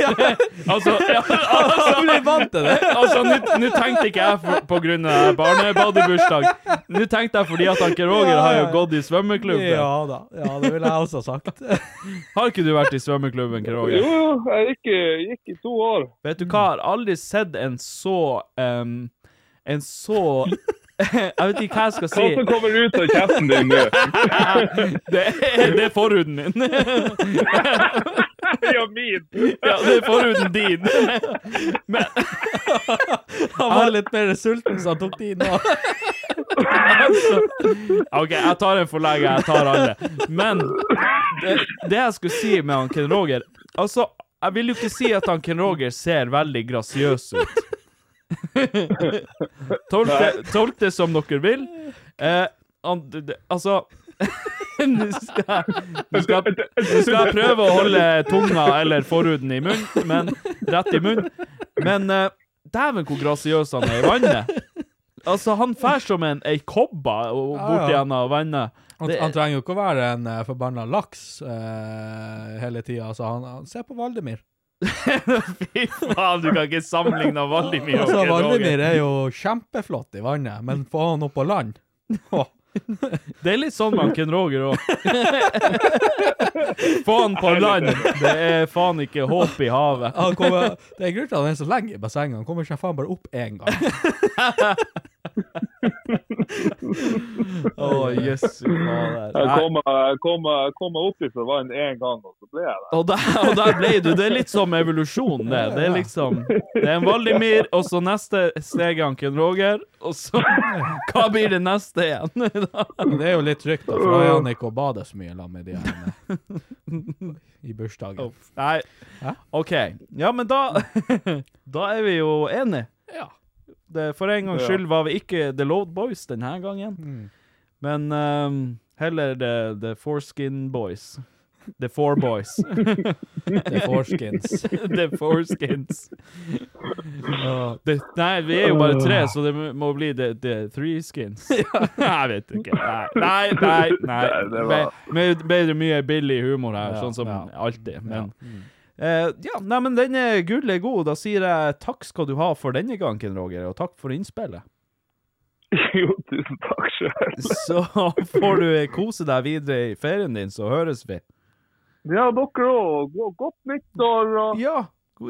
altså, ja, altså, Altså, nå nå tenkte ikke jeg for, på grunn av barnebadebursdag. Nå tenkte jeg fordi at Anken Roger har jo gått i svømmeklubben.
Ja da. Ja, det ville jeg også sagt.
Har ikke du vært i svømmeklubben, Anken
Jo,
Roger?
jo, jeg gikk, i- gikk i to år.
Vet du hva, jeg har aldri sett en så em, En så Jeg vet ikke hva jeg skal
Hva
si.
som kommer ut av kjeften din nå?
Det er, det er forhuden min.
Ja, min!
Ja, det er forhuden din. Men
Han var litt mer sulten, så han tok tiden av.
altså OK, jeg tar en for lenge, jeg tar alle. Men det, det jeg skulle si med han Ken Roger Altså, jeg vil jo ikke si at han Ken Roger ser veldig grasiøs ut. Tolk det, tolk det som dere vil. Eh, han, det, det- altså Nå skal, nå skal, nå skal jeg prøve å holde tunga eller forhuden i munnen, men rett i munnen. Men eh, dæven hvor grasiøs han er i vannet! Altså, han fær som en ei kobbe og bort
Ja, ja.
gjennom vannet.
Han,
Det-
han trenger jo ikke å være en eh, forbanna laks eh, hele tida. Altså, han, han Se på Valdemir.
Faen, du kan ikke sammenligne Valdimir og
Altså,
Roger.
Valdemir er jo kjempeflott i vannet, men få han opp på land
Det er litt sånn med Ken Roger òg. Faen på land! Det er faen ikke håp i havet.
han kommer, Det er grunnen til at han er så lenge i bassenget. Han kommer seg faen bare opp én gang.
Å, jøsses fader.
Jeg
Nei.
kom, jeg kom, jeg kom meg opp ifra vann én gang, og så ble jeg der.
Og der, og der ble du. Det er litt som evolusjon, det. Det er liksom Det er en Valdimir, og så neste steg er han Ken Roger, og så Hva blir det neste igjen?
Men det er jo litt trygt, da, for da er han ikke å bade så mye sammen med de her eh, i bursdagen.
Nei. OK. Ja, men da Da er vi jo enige.
Ja.
Det, for en gangs
Ja.
skyld var vi ikke The Load Boys denne gangen. Men ehm, heller the, the Foreskin Boys. The Four Boys.
The Foreskins.
the Foreskins. Åh, det, nei, vi er jo bare tre, så det må- må bli The, the Three Skins. Jeg vet ikke. Nei, nei, nei. nei.
Det- det var-
Be- med- Bedre mye billig humor her,
Ja,
sånn som alltid. Men
Mm.
Eh, ja, nei, men denne gull er god. Da sier jeg takk skal du ha for denne gangen, Roger, og takk for innspillet.
Jo, tusen takk sjøl.
Så får du kose deg videre i ferien din, så høres vi.
Ja, dere òg. Godt nyttår. Og...
Ja.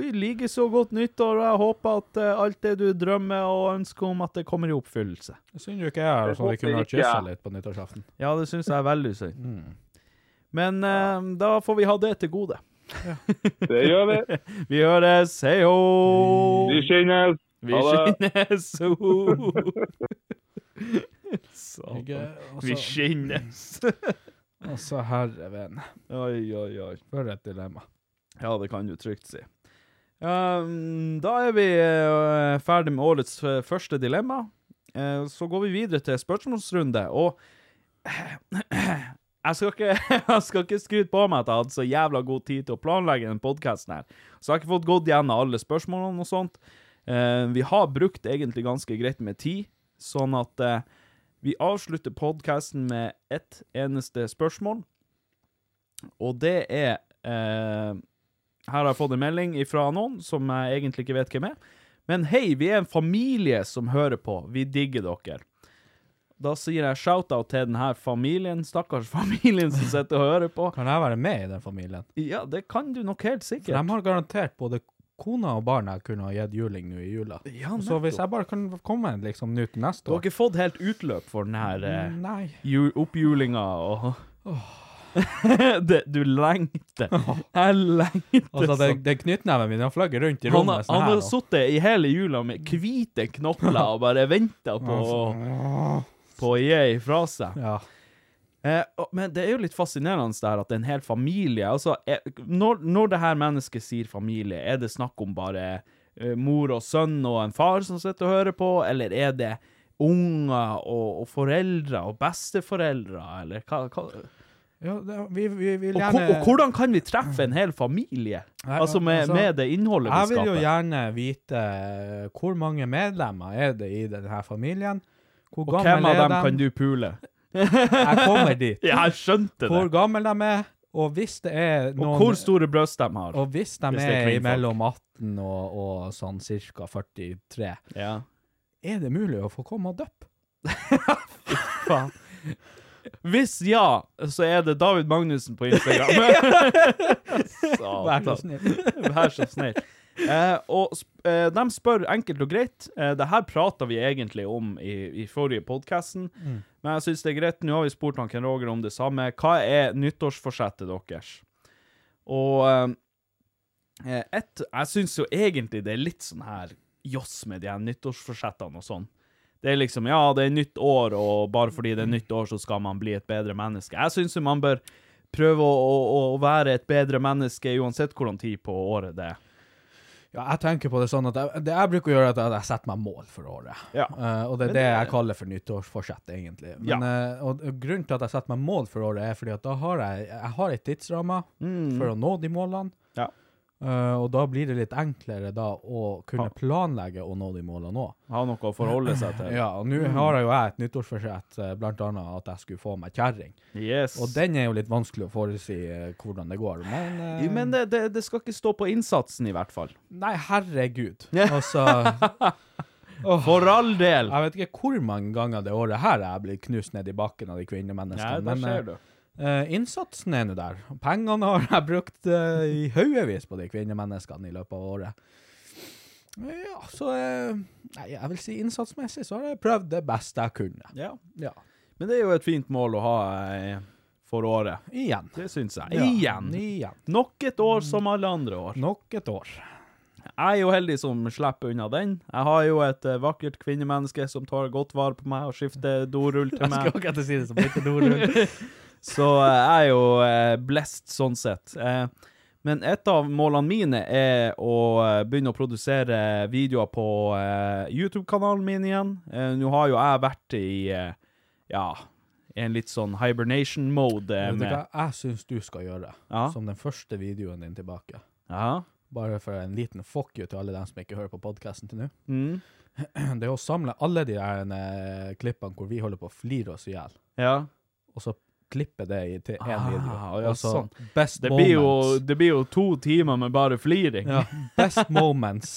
I like så godt nyttår, og jeg håper at eh, alt det du drømmer og ønsker om, at det kommer i oppfyllelse.
Synd du ikke er her, så vi kunne ha kyssa litt på nyttårsaften.
Ja, det syns jeg er veldig synd. Men eh, da får vi ha det til gode.
Det gjør vi.
Vi høres. Hei hå!
Vi skinnes.
Vi
Ha det.
skinnes! ho! Satan.
Ikke- altså-
Vi skinnes!
Altså, herre venn.
Oi, oi, oi.
For et dilemma.
Ja, det kan du trygt si. Um, da er vi eh, ferdig med årets eh, første dilemma. Eh, så går vi videre til spørsmålsrunde, og jeg skal, ikke, jeg skal ikke skryte på meg at jeg hadde så jævla god tid til å planlegge denne podkasten her. Så jeg har ikke fått gått gjennom alle spørsmålene og sånt. Eh, vi har brukt egentlig ganske greit med tid, sånn at eh, vi avslutter podkasten med ett eneste spørsmål. Og det er eh, Her har jeg fått en melding fra noen som jeg egentlig ikke vet hvem er. Men hei, vi er en familie som hører på. Vi digger dere. Da sier jeg shout-out til denne familien, stakkars familien som sitter og hører på.
Kan jeg være med i den familien?
Ja, det kan du nok helt
For
sikkert.
de har garantert både kona og barna jeg kunne ha gitt juling nå i jula.
Ja,
Og så
nettopp.
hvis jeg bare kan komme liksom nå
Du
til neste
har
år
ikke fått helt utløp for den her eh,
Nei.
ju- oppjulinga og det, Du lengter. Jeg lengter
Altså, det,
sånn.
det knyttneven min har fløyet rundt i
Han, har-
rommet sånn
han
her
har
nå.
sittet i hele jula med hvite knopler og bare venta på, på å gi ifra seg.
Ja.
Eh, og- men det er jo litt fascinerende det her at det er en hel familie altså, er, når, når det her mennesket sier familie, er det snakk om bare eh, mor og sønn og en far som sitter og hører på, eller er det unger og, og foreldre og besteforeldre, eller hva, hva
ja det, vi, vi vil
og,
gjerne
ko- og hvordan kan vi treffe en hel familie?
Nei,
altså med,
altså,
med det innholdet vi
Jeg vil
skaper.
jo gjerne vite eh, hvor mange medlemmer er det i denne familien. Hvor
og hvem
gammel
av
er
dem kan du pule?
Jeg kommer dit.
Ja, jeg skjønte
Hvor
det.
gammel de er, og hvis det er noen
Og hvor store brøst de har.
Og hvis de
Hvis det er
er
kvinnfolk.
mellom 18 og, og sånn ca. 43,
Ja.
er det mulig å få komme og døppe?
Faen. Hvis ja, så er det David Magnussen på Instagram.
Vær så
Satan.
snill.
Vær så snill. Eh, og sp- eh, de spør enkelt og greit. Eh, det her prata vi egentlig om i, i forrige podkasten,
Mm.
men jeg syns det er greit. Nå har vi spurt han Ken Roger om det samme. Hva er nyttårsforsettet deres? Og eh, et, jeg syns jo egentlig det er litt sånn her joss med de her nyttårsforsettene og sånn. Det er liksom Ja, det er nytt år, og bare fordi det er nytt år, så skal man bli et bedre menneske. Jeg syns jo man bør prøve å, å, å være et bedre menneske uansett hvordan tid på året det er.
Ja, jeg tenker på det sånn at jeg, det jeg bruker å gjøre, er at jeg setter meg mål for året. Eh, og det er
Men
det
det-
jeg kaller for nyttårsforsett, egentlig. Men, eh, og og grunnen til at jeg setter meg mål for året, er fordi at da har jeg, jeg har et tidsramme
Mm.
for å nå de målene. Eh, og da blir det litt enklere da å kunne planlegge å nå de målene òg.
Ha noe å forholde seg til.
Ja, og nå
Mm.
har jeg jo jeg et nyttårsforsett, eh, blant annet at jeg skulle få meg kjerring.
Yes.
Og den er jo litt vanskelig å forutsi eh, hvordan det går, men eh,
Jo, Men det, det, det skal ikke stå på innsatsen, i hvert fall.
Nei, herregud. Altså For
all del!
Jeg vet ikke hvor mange ganger det året her jeg blir knust ned i bakken av de
Nei,
kvinnemenneskene.
der
men,
ser
eh,
du.
eh, innsatsen er nå der. Pengene har jeg brukt eh, i haugevis på de kvinnemenneskene i løpet av året. Ja, så eh, Nei, jeg vil si innsatsmessig så har jeg prøvd det beste jeg kunne.
Ja.
Ja.
Men det er jo et fint mål å ha eh, for året.
Igjen.
Det syns jeg.
Ja,
Igjen.
igjen.
Nok et år som alle andre år.
Nok et år.
Jeg er jo heldig som slipper unna den. Jeg har jo et eh, vakkert kvinnemenneske som tar godt vare på meg og skifter dorull til
Jeg
meg.
skulle akkurat si det som bytte dorull.
Så eh, jeg er jo eh, blessed sånn sett. Eh, men et av målene mine er å eh, begynne å produsere videoer på eh, YouTube-kanalen min igjen. Eh, Nå har jo jeg vært i eh, ja, en litt sånn hibernation-mode. eh,
Vet du
med-
hva jeg syns du skal gjøre,
Ja.
som den første videoen din tilbake?
Ja.
Bare for en liten fuck you til alle dem som ikke hører på podkasten til nå.
Mm.
Det er å samle alle de her eh, klippene hvor vi holder på å flire oss i hjel,
Ja.
og så klippe det i, til én
Ah,
video.
ja,
Og så
sånn.
Best
det blir, jo,
moments.
det blir jo to timer med bare fliring.
Ja, best moments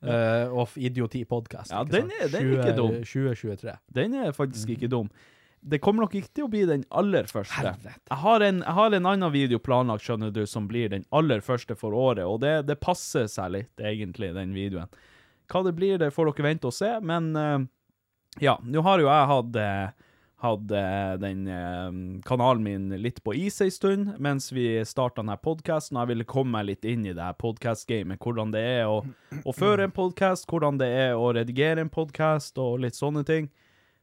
eh, of idioti-podkast.
Ja, den er- den er ikke dum.
2023.
Den er faktisk ikke dum. Det kommer nok ikke til å bli den aller første. Jeg har, en, jeg har en annen video planlagt, skjønner du, som blir den aller første for året, og det, det passer seg litt, egentlig, den videoen. Hva det blir, det får dere vente og se, men eh, ja, nå har jo jeg hatt eh, hatt, eh, den eh, kanalen min litt på is ei stund mens vi starta denne podkasten. Jeg ville komme meg litt inn i det her podkast-gamet. Hvordan det er å, å føre en podkast, hvordan det er å redigere en podkast, og litt sånne ting.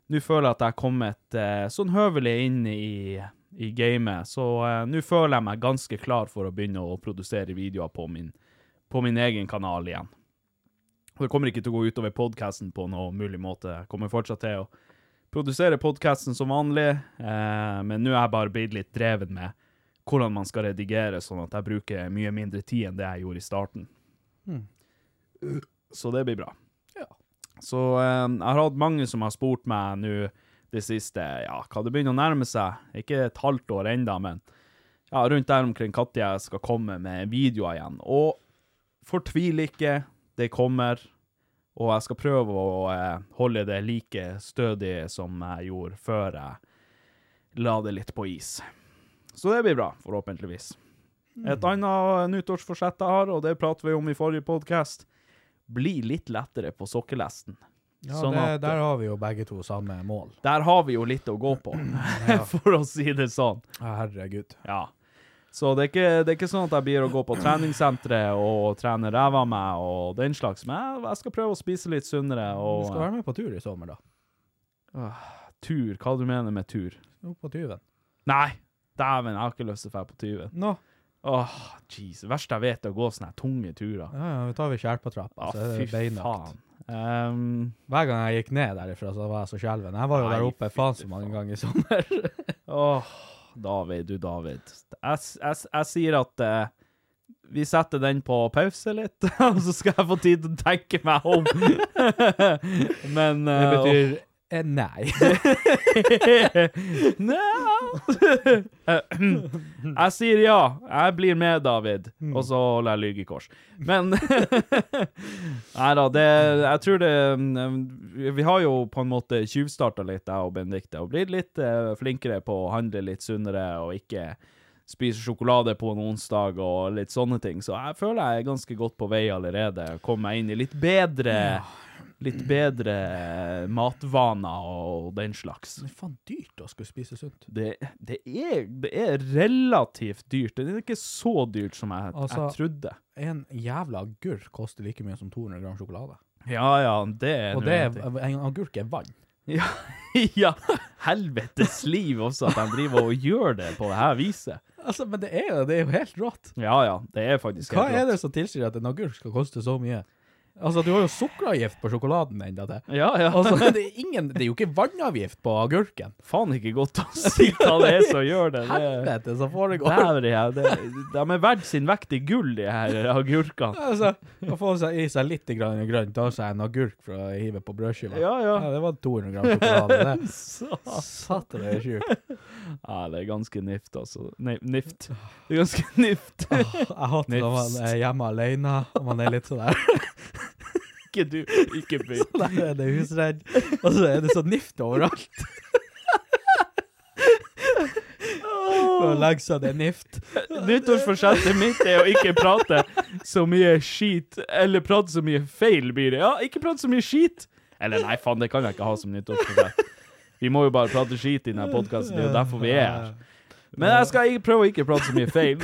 Nå føler jeg at jeg har kommet eh, sånn høvelig inn i, i gamet, så eh, nå føler jeg meg ganske klar for å begynne å produsere videoer på min, på min egen kanal igjen. Og det kommer ikke til å gå utover podkasten på noen mulig måte. Jeg kommer fortsatt til å produsere podkasten som vanlig, eh, men nå er jeg bare blitt litt dreven med hvordan man skal redigere, sånn at jeg bruker mye mindre tid enn det jeg gjorde i starten.
Hmm.
Så det blir bra. Så eh, jeg har hatt mange som har spurt meg nå det siste, ja, hva det begynner å nærme seg. Ikke et halvt år enda, men ja, rundt der omkring når jeg skal komme med videoer igjen. Og fortvil ikke, det kommer. Og jeg skal prøve å eh, holde det like stødig som jeg gjorde før jeg la det litt på is. Så det blir bra, forhåpentligvis. Et
Mm.
annet eh, nyttårsforsett jeg har, og det prater vi om i forrige podkast, bli litt lettere på sokkelesten.
Ja,
Sånn
det,
at-
der har vi jo begge to samme mål.
der har vi jo litt å gå på, for å si det sånn.
Herregud.
Ja. Så det er, ikke, det er ikke sånn at jeg blir å gå på treningssenteret og trene ræva av meg og den slags, men jeg, jeg skal prøve å spise litt sunnere
Du
og eh,
skal være med på tur i sommer, da.
Åh, Tur? Hva du mener med tur?
Opp på tyven.
Nei! Dæven, jeg har ikke lyst til å dra på tyven.
Nå.
Åh, jeez. Det verste jeg vet, er å gå sånne her tunge turer.
Ja, ja, vi tar ved Skjerpatrappa,
Ah,
så er det
fy
beinøkt.
faen. Ehm,
Hver gang jeg gikk ned derifra, så var jeg så skjelven. Jeg var jo
Nei,
der oppe faen så mange ganger i sommer.
Åh, David, du David. Jeg, s- jeg, s- jeg sier at eh, vi setter den på pause litt, og så skal jeg få tid til å tenke meg om. Men
Det
eh,
betyr eh, nei.
Nja. Jeg sier ja. Jeg blir med, David. Og så holder jeg lyge i kors. Men Nei da, det Jeg tror det mm, Vi har jo på en måte tjuvstarta litt, jeg og Benedicte, og blitt litt eh, flinkere på å handle litt sunnere og ikke spise sjokolade på en onsdag og litt sånne ting. Så jeg føler jeg er ganske godt på vei allerede. Kom meg inn i litt bedre Litt bedre matvaner og den slags.
Det er faen dyrt å skulle spise sunt.
Det, det, er, det er relativt dyrt. Det er ikke så dyrt som jeg,
Altså-
jeg trodde.
En jævla agurk koster like mye som 200 gram sjokolade.
Ja, ja, det er
Og
nå
det
en
er,
ting.
en agurk er vann.
Ja, ja. helvetes liv også, at de driver og gjør det på det her viset.
Altså, men det er jo, det er jo helt rått.
Ja ja, det er faktisk
Hva
helt
er det som tilsier at en agurk skal koste så mye? Altså, du har jo sukkeravgift på sjokoladen enda til.
Ja, ja.
Altså, det er, ingen, det er jo ikke vannavgift på agurken.
Faen ikke godt å si hva det er som gjør det. det
Helvete som foregår.
Dæven, ja. Det, de er verdt sin vekt i gull, de her agurkene.
Altså, å få seg i seg litt grann grønt, ta seg en agurk for å hive på brødskiva.
Ja, ja.
det var 200 gram sjokolade, det.
Satan.
Satan, det er sjukt.
Ja, det er ganske nift, altså. Nei, nift. Det er ganske nift.
Jeg hater når man er hjemme alene, og man er litt sånn der.
Ikke du, ikke bytt.
Der er det husredd, og så er det så nift overalt. For å legge seg, det er nift.
Nyttårsforsettet mitt er å ikke prate så mye skit, eller prate så mye feil, blir det. Ja, ikke prate så mye skit! Eller nei, faen, det kan jeg ikke ha som nyttårsforsett. Vi må jo bare prate skit i denne podkasten, det er jo derfor vi er her.
Eh,
Men jeg skal ikke prøve å ikke prate så mye feil.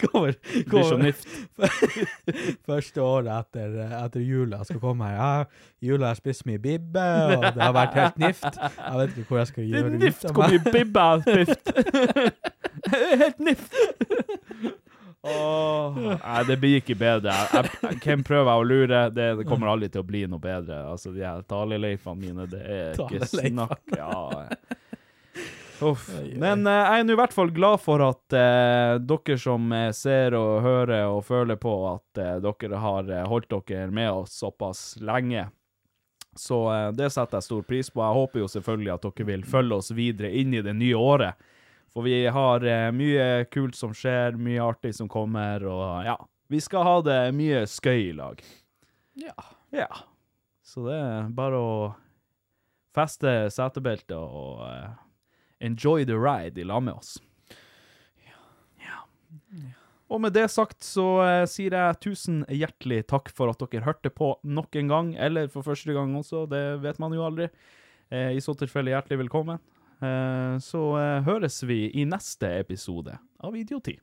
Kommer,
Blir så
kommer.
nift.
Første året etter, etter jula jeg skal komme her. Ja, i jula har jeg spist mye bibbe, og det har vært helt nift. Jeg vet ikke hvor jeg skal
Det er
gjøre
nift
av
hvor
meg.
mye bibbe jeg har spist. Helt nift. Åh, nei, det blir ikke bedre. Jeg, jeg, hvem prøver jeg å lure? Det, det kommer aldri til å bli noe bedre. Altså, de her taleleifene mine, det er ikke
Taleleifene.
snakk. Ja. Uff. Men eh, jeg er nå i hvert fall glad for at eh, dere som eh, ser og hører og føler på at eh, dere har eh, holdt dere med oss såpass lenge. Så eh, det setter jeg stor pris på. Jeg håper jo selvfølgelig at dere vil følge oss videre inn i det nye året. For vi har eh, mye kult som skjer, mye artig som kommer, og eh, ja. Vi skal ha det mye skøy i lag.
Ja.
Ja. Så det er bare å feste setebeltet og eh, enjoy the ride i lag med oss. Ja. Og med det sagt så eh, sier jeg tusen hjertelig takk for at dere hørte på nok en gang, eller for første gang også, det vet man jo aldri. Eh, I så tilfelle hjertelig velkommen. Eh, så eh, høres vi i neste episode av Idioti.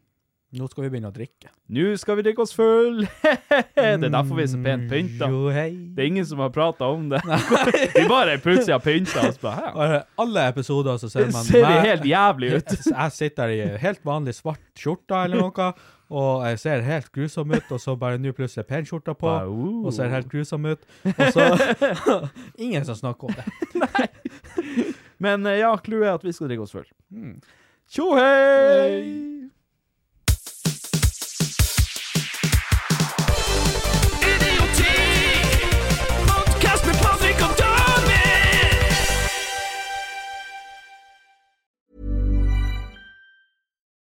Nå skal vi begynne å drikke.
Nå skal vi drikke oss full! det er derfor vi er så pent pynta.
Jo, hei.
Det er ingen som har prata om det. Vi bare plutselig har pynta oss. på her.
Og Alle episoder så ser
Det
man
ser
meg-
helt jævlig ut.
Jeg sitter i helt vanlig svart skjorta eller noe, og jeg ser helt grusom ut, og så bare nå plutselig er penskjorta på,
Bare, uh.
og ser helt grusom ut, og så Ingen som snakker om det.
Men eh, ja, clouet er at vi skal drikke oss full.
Hmm.
Tjo hei!
Idioti. Podcast med Patrick og David.